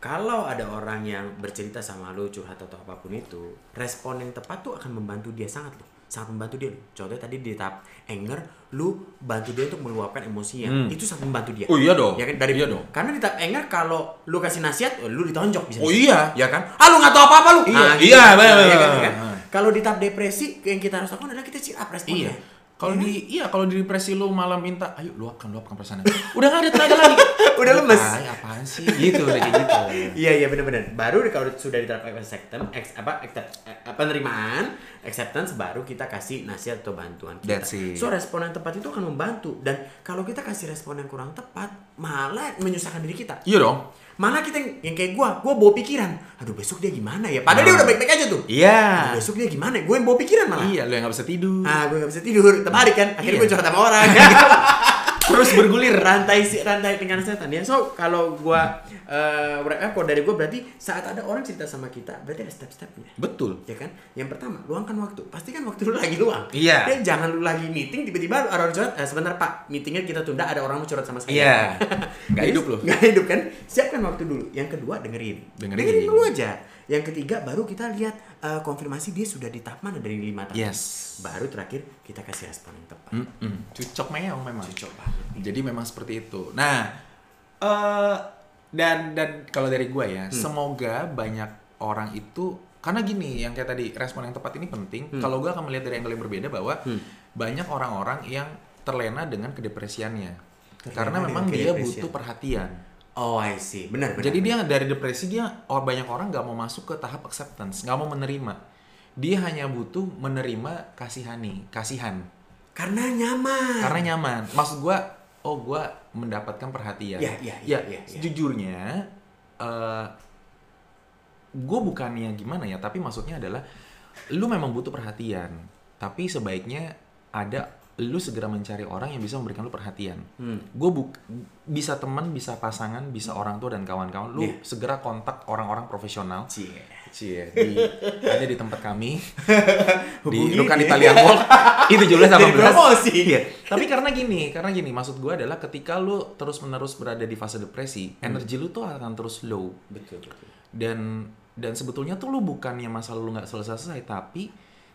S1: kalau ada orang yang bercerita sama lu curhat atau apapun itu, respon yang tepat tuh akan membantu dia sangat loh. Sangat membantu dia loh. Contohnya tadi di tahap anger, lu bantu dia untuk meluapkan emosinya.
S2: Hmm.
S1: Itu sangat membantu dia.
S2: Oh iya dong.
S1: Ya kan dari
S2: Iya dong.
S1: Karena di tahap anger kalau lu kasih nasihat, eh, lu ditonjok bisa.
S2: Oh iya.
S1: ya kan? Ah lu nggak tahu apa-apa lu.
S2: Iya,
S1: Nah, gitu.
S2: iya, bener,
S1: Nah,
S2: bener,
S1: kan,
S2: bener,
S1: kan?
S2: bener.
S1: Kalau di tahap depresi yang kita harus lakukan adalah kita cheer up responnya.
S2: Iya. Kalau di iya kalau di depresi lu malah minta, ayo luapkan luapkan perasaannya. Udah nggak ada tenaga lagi.
S1: Udah lemes.
S2: Ay, apaan sih? Gitu udah kayak gitu.
S1: Iya iya benar-benar. Baru kalau sudah diterapkan acceptance, ex- apa accept- eh, penerimaan, acceptance baru kita kasih nasihat atau bantuan kita.
S2: That's it.
S1: So respon yang tepat itu akan membantu dan kalau kita kasih respon yang kurang tepat malah menyusahkan diri kita.
S2: Iya dong.
S1: Malah kita yang, yang kayak gua, gua bawa pikiran. Aduh besok dia gimana ya? Padahal dia
S2: Nah.
S1: udah baik-baik aja tuh.
S2: Iya.
S1: Aduh, besok dia gimana? Gue yang bawa pikiran malah.
S2: Iya, lu yang nggak bisa tidur.
S1: Ah, gue gak bisa tidur. Terbalik kan? Akhirnya
S2: Iya.
S1: gue curhat sama orang.
S2: Terus bergulir.
S1: rantai si rantai dengan setan ya. So, kalau gue eh wrap up kalau dari gue berarti saat ada orang cerita sama kita, berarti ada step-stepnya.
S2: Betul.
S1: Ya kan? Yang pertama, luangkan waktu. Pastikan waktu lu lagi luang.
S2: Iya.
S1: Dan jangan lu lagi meeting tiba-tiba lu ada orang curhat. Eh, sebentar Pak, meetingnya kita tunda ada orang mau curhat sama saya.
S2: Iya. Nggak
S1: Jadi,
S2: hidup lu.
S1: Nggak hidup kan? Siapkan waktu dulu. Yang kedua dengerin.
S2: Dengerin.
S1: dulu aja. Yang ketiga baru kita lihat eh, konfirmasi dia sudah di tahap mana dari lima tahap.
S2: Yes. Hmm.
S1: Baru terakhir kita kasih respon yang tepat.
S2: Mm-mm. Cucok meong memang.
S1: Cocok banget.
S2: Jadi memang seperti itu. Nah, eh dan dan kalau dari gue ya, semoga banyak orang itu karena gini yang kayak tadi respon yang tepat ini penting. Kalau gue akan melihat dari angle yang berbeda bahwa banyak orang-orang yang terlena dengan kedepresiannya.
S1: Terlena
S2: karena memang
S1: dengan
S2: dia
S1: kedepresian.
S2: butuh perhatian.
S1: Oh, I see. Benar, benar.
S2: Jadi dia dari depresi dia or- banyak orang nggak mau masuk ke tahap acceptance, nggak mau menerima. Dia hanya butuh menerima kasihani, kasihan.
S1: karena nyaman.
S2: karena nyaman maksud gua oh gua mendapatkan perhatian
S1: Iya, iya, iya,
S2: Ya,
S1: iya, iya.
S2: sejujurnya eh gue bukannya gimana ya tapi maksudnya adalah lu memang butuh perhatian Tapi sebaiknya ada lu segera mencari orang yang bisa memberikan lu perhatian.
S1: Hmm.
S2: Gue bisa teman, bisa pasangan, bisa orang tua dan kawan-kawan. Lu
S1: Iya.
S2: segera kontak orang-orang profesional.
S1: Cie.
S2: Cie, di, ada di tempat kami di
S1: Hubungi
S2: Rukan
S1: dia.
S2: Italia Mall itu 17
S1: Jadi
S2: 18
S1: ya. promosi.
S2: Iya. Tapi karena gini, karena gini maksud gue adalah ketika lu terus-menerus berada di fase depresi, energi lu tuh akan terus low
S1: Betul, betul.
S2: dan dan sebetulnya tuh lu bukannya masalah lu nggak selesai-selesai tapi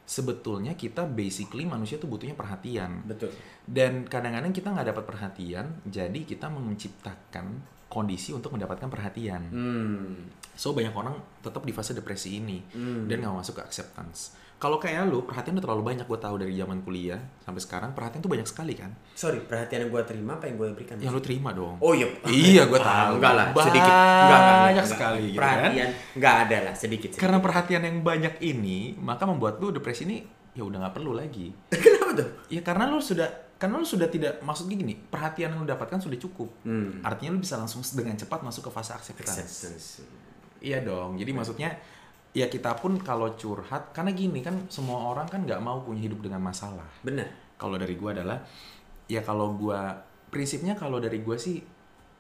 S2: sebetulnya kita basically manusia tuh butuhnya perhatian
S1: Betul.
S2: dan kadang-kadang kita nggak dapat perhatian jadi kita menciptakan kondisi untuk mendapatkan perhatian
S1: Hmm.
S2: so banyak orang tetap di fase depresi ini
S1: Hmm.
S2: dan nggak masuk ke acceptance kalau kayak lu perhatian udah terlalu banyak gue tahu dari zaman kuliah sampai sekarang perhatian tuh banyak sekali kan
S1: Sorry, perhatian yang gue terima apa yang gue berikan?
S2: yang lu terima dong
S1: Oh iya.
S2: Iya, gua
S1: Ah,
S2: tahu.
S1: Enggak lah,
S2: Banyak
S1: sedikit. Enggak, enggak, enggak, enggak.
S2: sekali gitu kan.
S1: Perhatian enggak ada lah, sedikit. sedikit.
S2: karena perhatian yang banyak ini maka membuat lu depresi ini ya udah nggak perlu lagi
S1: kenapa tuh?
S2: Ya karena lu sudah karena lu sudah tidak maksudnya gini, perhatian yang lu dapatkan sudah cukup.
S1: Hmm.
S2: Artinya lu bisa langsung dengan cepat masuk ke fase acceptance.
S1: Acceptance.
S2: Iya dong. Jadi maksudnya ya kita pun kalau curhat karena gini kan semua orang kan nggak mau punya hidup dengan masalah.
S1: Benar.
S2: Kalau dari gua adalah ya kalau gua prinsipnya kalau dari gua sih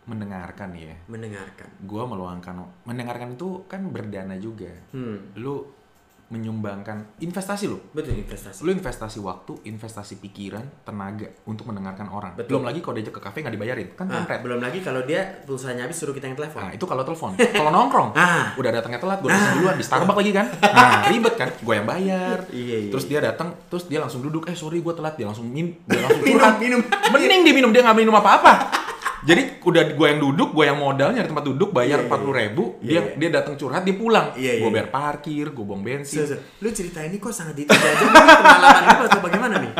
S2: mendengarkan ya.
S1: Mendengarkan.
S2: Gua meluangkan mendengarkan itu kan berdana juga.
S1: Hmm.
S2: Lu menyumbangkan investasi lu
S1: Betul investasi.
S2: lu investasi waktu, investasi pikiran, tenaga untuk mendengarkan orang.
S1: Betul.
S2: Belum lagi kalau diajak ke kafe nggak dibayarin, kan
S1: Ah,
S2: kampret.
S1: belum lagi kalau dia pulsanya habis suruh kita yang telepon.
S2: Nah, itu kalau telepon. Kalau nongkrong,
S1: Ah.
S2: udah datangnya telat, gue udah duluan di Starbucks lagi kan. Nah, ribet kan? Gue yang bayar.
S1: Iya, iya,
S2: Terus dia datang, terus dia langsung duduk, "Eh, sorry gue telat." Dia langsung min, dia langsung
S1: Minum,
S2: curhat.
S1: minum.
S2: Mending dia minum, dia nggak minum apa-apa. Jadi udah gue yang duduk, gue yang modal nyari tempat duduk,
S1: Iya,
S2: bayar
S1: iya,
S2: empat puluh ribu,
S1: iya,
S2: dia
S1: iya.
S2: dia datang curhat, dia pulang.
S1: Iya, iya,
S2: gue
S1: iya.
S2: bayar parkir, gue buang bensin.
S1: So, so, Lu cerita ini kok sangat detail aja. Ini Pengalaman lu atau bagaimana nih?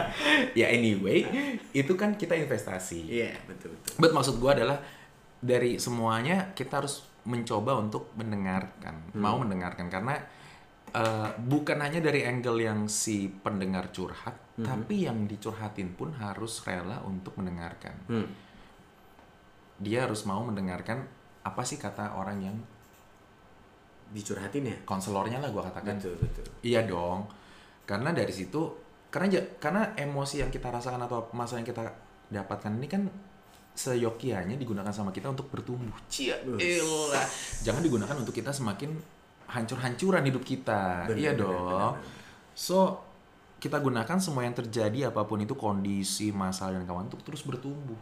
S2: Ya anyway, itu kan kita investasi.
S1: Iya, betul betul.
S2: But maksud gua adalah dari semuanya kita harus mencoba untuk mendengarkan,
S1: Hmm.
S2: mau mendengarkan karena eh, bukan hanya dari angle yang si pendengar curhat,
S1: Hmm.
S2: tapi yang dicurhatin pun harus rela untuk mendengarkan.
S1: Hmm.
S2: Dia harus mau mendengarkan apa sih kata orang yang
S1: Dicurhatin ya.
S2: konselornya lah gua katakan.
S1: Betul betul.
S2: Iya dong. Karena dari situ karena ja- karena emosi yang kita rasakan atau masalah yang kita dapatkan ini kan seyokianya digunakan sama kita untuk bertumbuh. Cia,
S1: Bus.
S2: elah. Jangan digunakan untuk kita semakin hancur-hancuran hidup kita.
S1: Benar,
S2: iya
S1: benar,
S2: dong.
S1: benar, benar.
S2: So kita gunakan semua yang terjadi apapun itu kondisi masalah dan kawan untuk terus bertumbuh.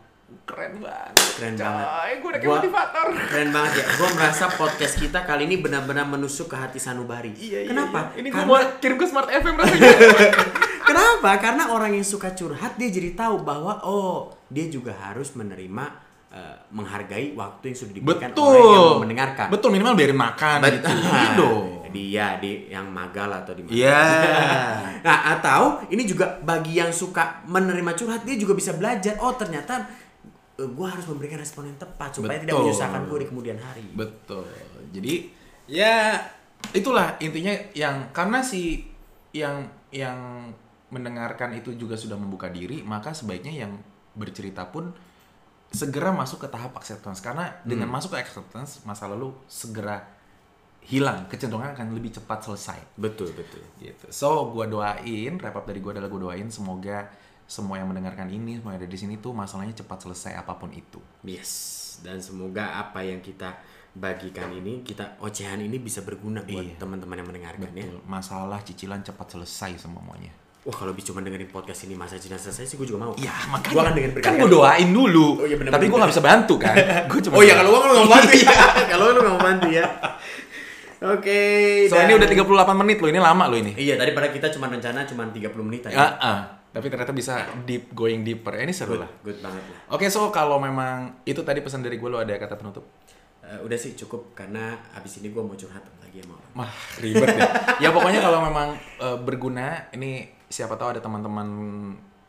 S2: Keren banget.
S1: Keren banget.
S2: Coy, Gue udah kayak
S1: Gua-
S2: motivator.
S1: Keren banget ya. Gua merasa podcast kita kali ini benar-benar menusuk ke hati sanubari. Kenapa?
S2: Iya, Ini gue
S1: Karena-
S2: mau kirim ke Smart FM rasanya.
S1: Kenapa? Karena orang yang suka curhat dia jadi tahu bahwa oh dia juga harus menerima eh, menghargai waktu yang sudah diberikan orang yang mau mendengarkan.
S2: Betul minimal biarin makan gitu. Iya dong.
S1: Dia di yang magal atau di mana.
S2: Iya.
S1: nah, atau ini juga bagi yang suka menerima curhat dia juga bisa belajar oh ternyata gue harus memberikan respon yang tepat supaya tidak
S2: Betul.
S1: menyusahkan gue di kemudian hari.
S2: Betul. Jadi ya itulah intinya yang karena si yang yang mendengarkan itu juga sudah membuka diri, maka sebaiknya yang bercerita pun segera masuk ke tahap acceptance karena dengan
S1: Hmm.
S2: masuk ke acceptance masa lalu segera hilang, kecenderungan akan lebih cepat selesai.
S1: Betul, betul.
S2: gitu. So, gua doain, wrap up dari gua adalah gua doain semoga semua yang mendengarkan ini, semua yang ada di sini tuh masalahnya cepat selesai apapun itu.
S1: Yes, dan semoga apa yang kita bagikan ini, kita ocehan ini bisa berguna buat
S2: Iya.
S1: teman-teman yang mendengarkan ya.
S2: Masalah cicilan cepat selesai semuanya.
S1: Wah, kalau bisa cuma dengerin podcast ini masa jenazah saya sih gue juga mau. Gua
S2: Iya,
S1: akan
S2: makanya
S1: dengerin
S2: kan
S1: berkali-kali.
S2: gua doain dulu.
S1: Oh iya, benar-benar.
S2: tapi gua nggak bisa bantu kan. gua cuma
S1: Oh iya, kalau gua kan lu nggak mau bantu ya. kalau lu nggak mau bantu ya. Oke.
S2: So,
S1: dan-
S2: ini udah 38 menit loh, ini lama loh ini.
S1: Iya, tadi pada kita cuma rencana cuma 30 menit
S2: Ah,
S1: aja.
S2: ah. tapi ternyata bisa deep going deeper. Eh, ini seru
S1: Good,
S2: lah.
S1: good banget lah.
S2: Oke, so kalau memang itu tadi pesan dari gua lo ada kata penutup?
S1: Eh, udah sih cukup karena abis ini gua mau curhat lagi sama orang.
S2: Mah ribet deh. ya pokoknya kalau memang eh, berguna, ini siapa tahu ada teman-teman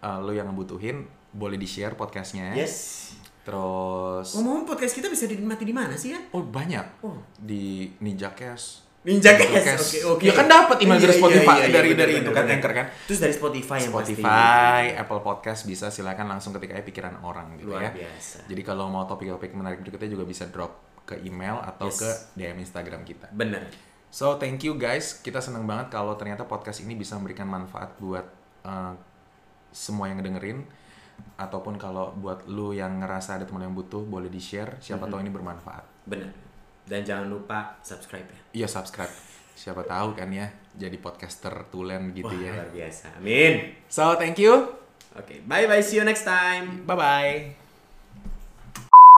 S2: eh, lo yang ngebutuhin, boleh di share podcastnya.
S1: Yes.
S2: Terus,
S1: Ngomong podcast kita bisa dinikmati di mana sih ya?
S2: oh banyak
S1: Oh.
S2: di Ninja Cast.
S1: Ninja
S2: Google
S1: Cast.
S2: Cast.
S1: Oke, oke.
S2: Ya kan dapat email dari
S1: Iya,
S2: Spotify,
S1: iya, iya,
S2: dari
S1: bener,
S2: dari
S1: bener,
S2: itu kan
S1: bener.
S2: anchor kan.
S1: Terus dari Spotify Oh, yang pasti.
S2: Spotify, Apple Podcast bisa silakan langsung ketik aja pikiran orang gitu
S1: Luar
S2: ya.
S1: biasa.
S2: Jadi kalau mau topik-topik menarik berikutnya juga bisa drop ke email atau
S1: Yes.
S2: ke DM Instagram kita.
S1: Bener.
S2: So thank you guys, kita seneng banget kalau ternyata podcast ini bisa memberikan manfaat buat eh, semua yang ngedengerin ataupun kalau buat lu yang ngerasa ada teman yang butuh boleh di share siapa tahu ini bermanfaat
S1: Bener. Dan jangan lupa subscribe ya.
S2: iya subscribe siapa tahu kan ya jadi podcaster tulen gitu
S1: Wah, iya.
S2: ya
S1: luar biasa. Amin.
S2: so thank you
S1: Oke, bye bye. See you next time.
S2: bye bye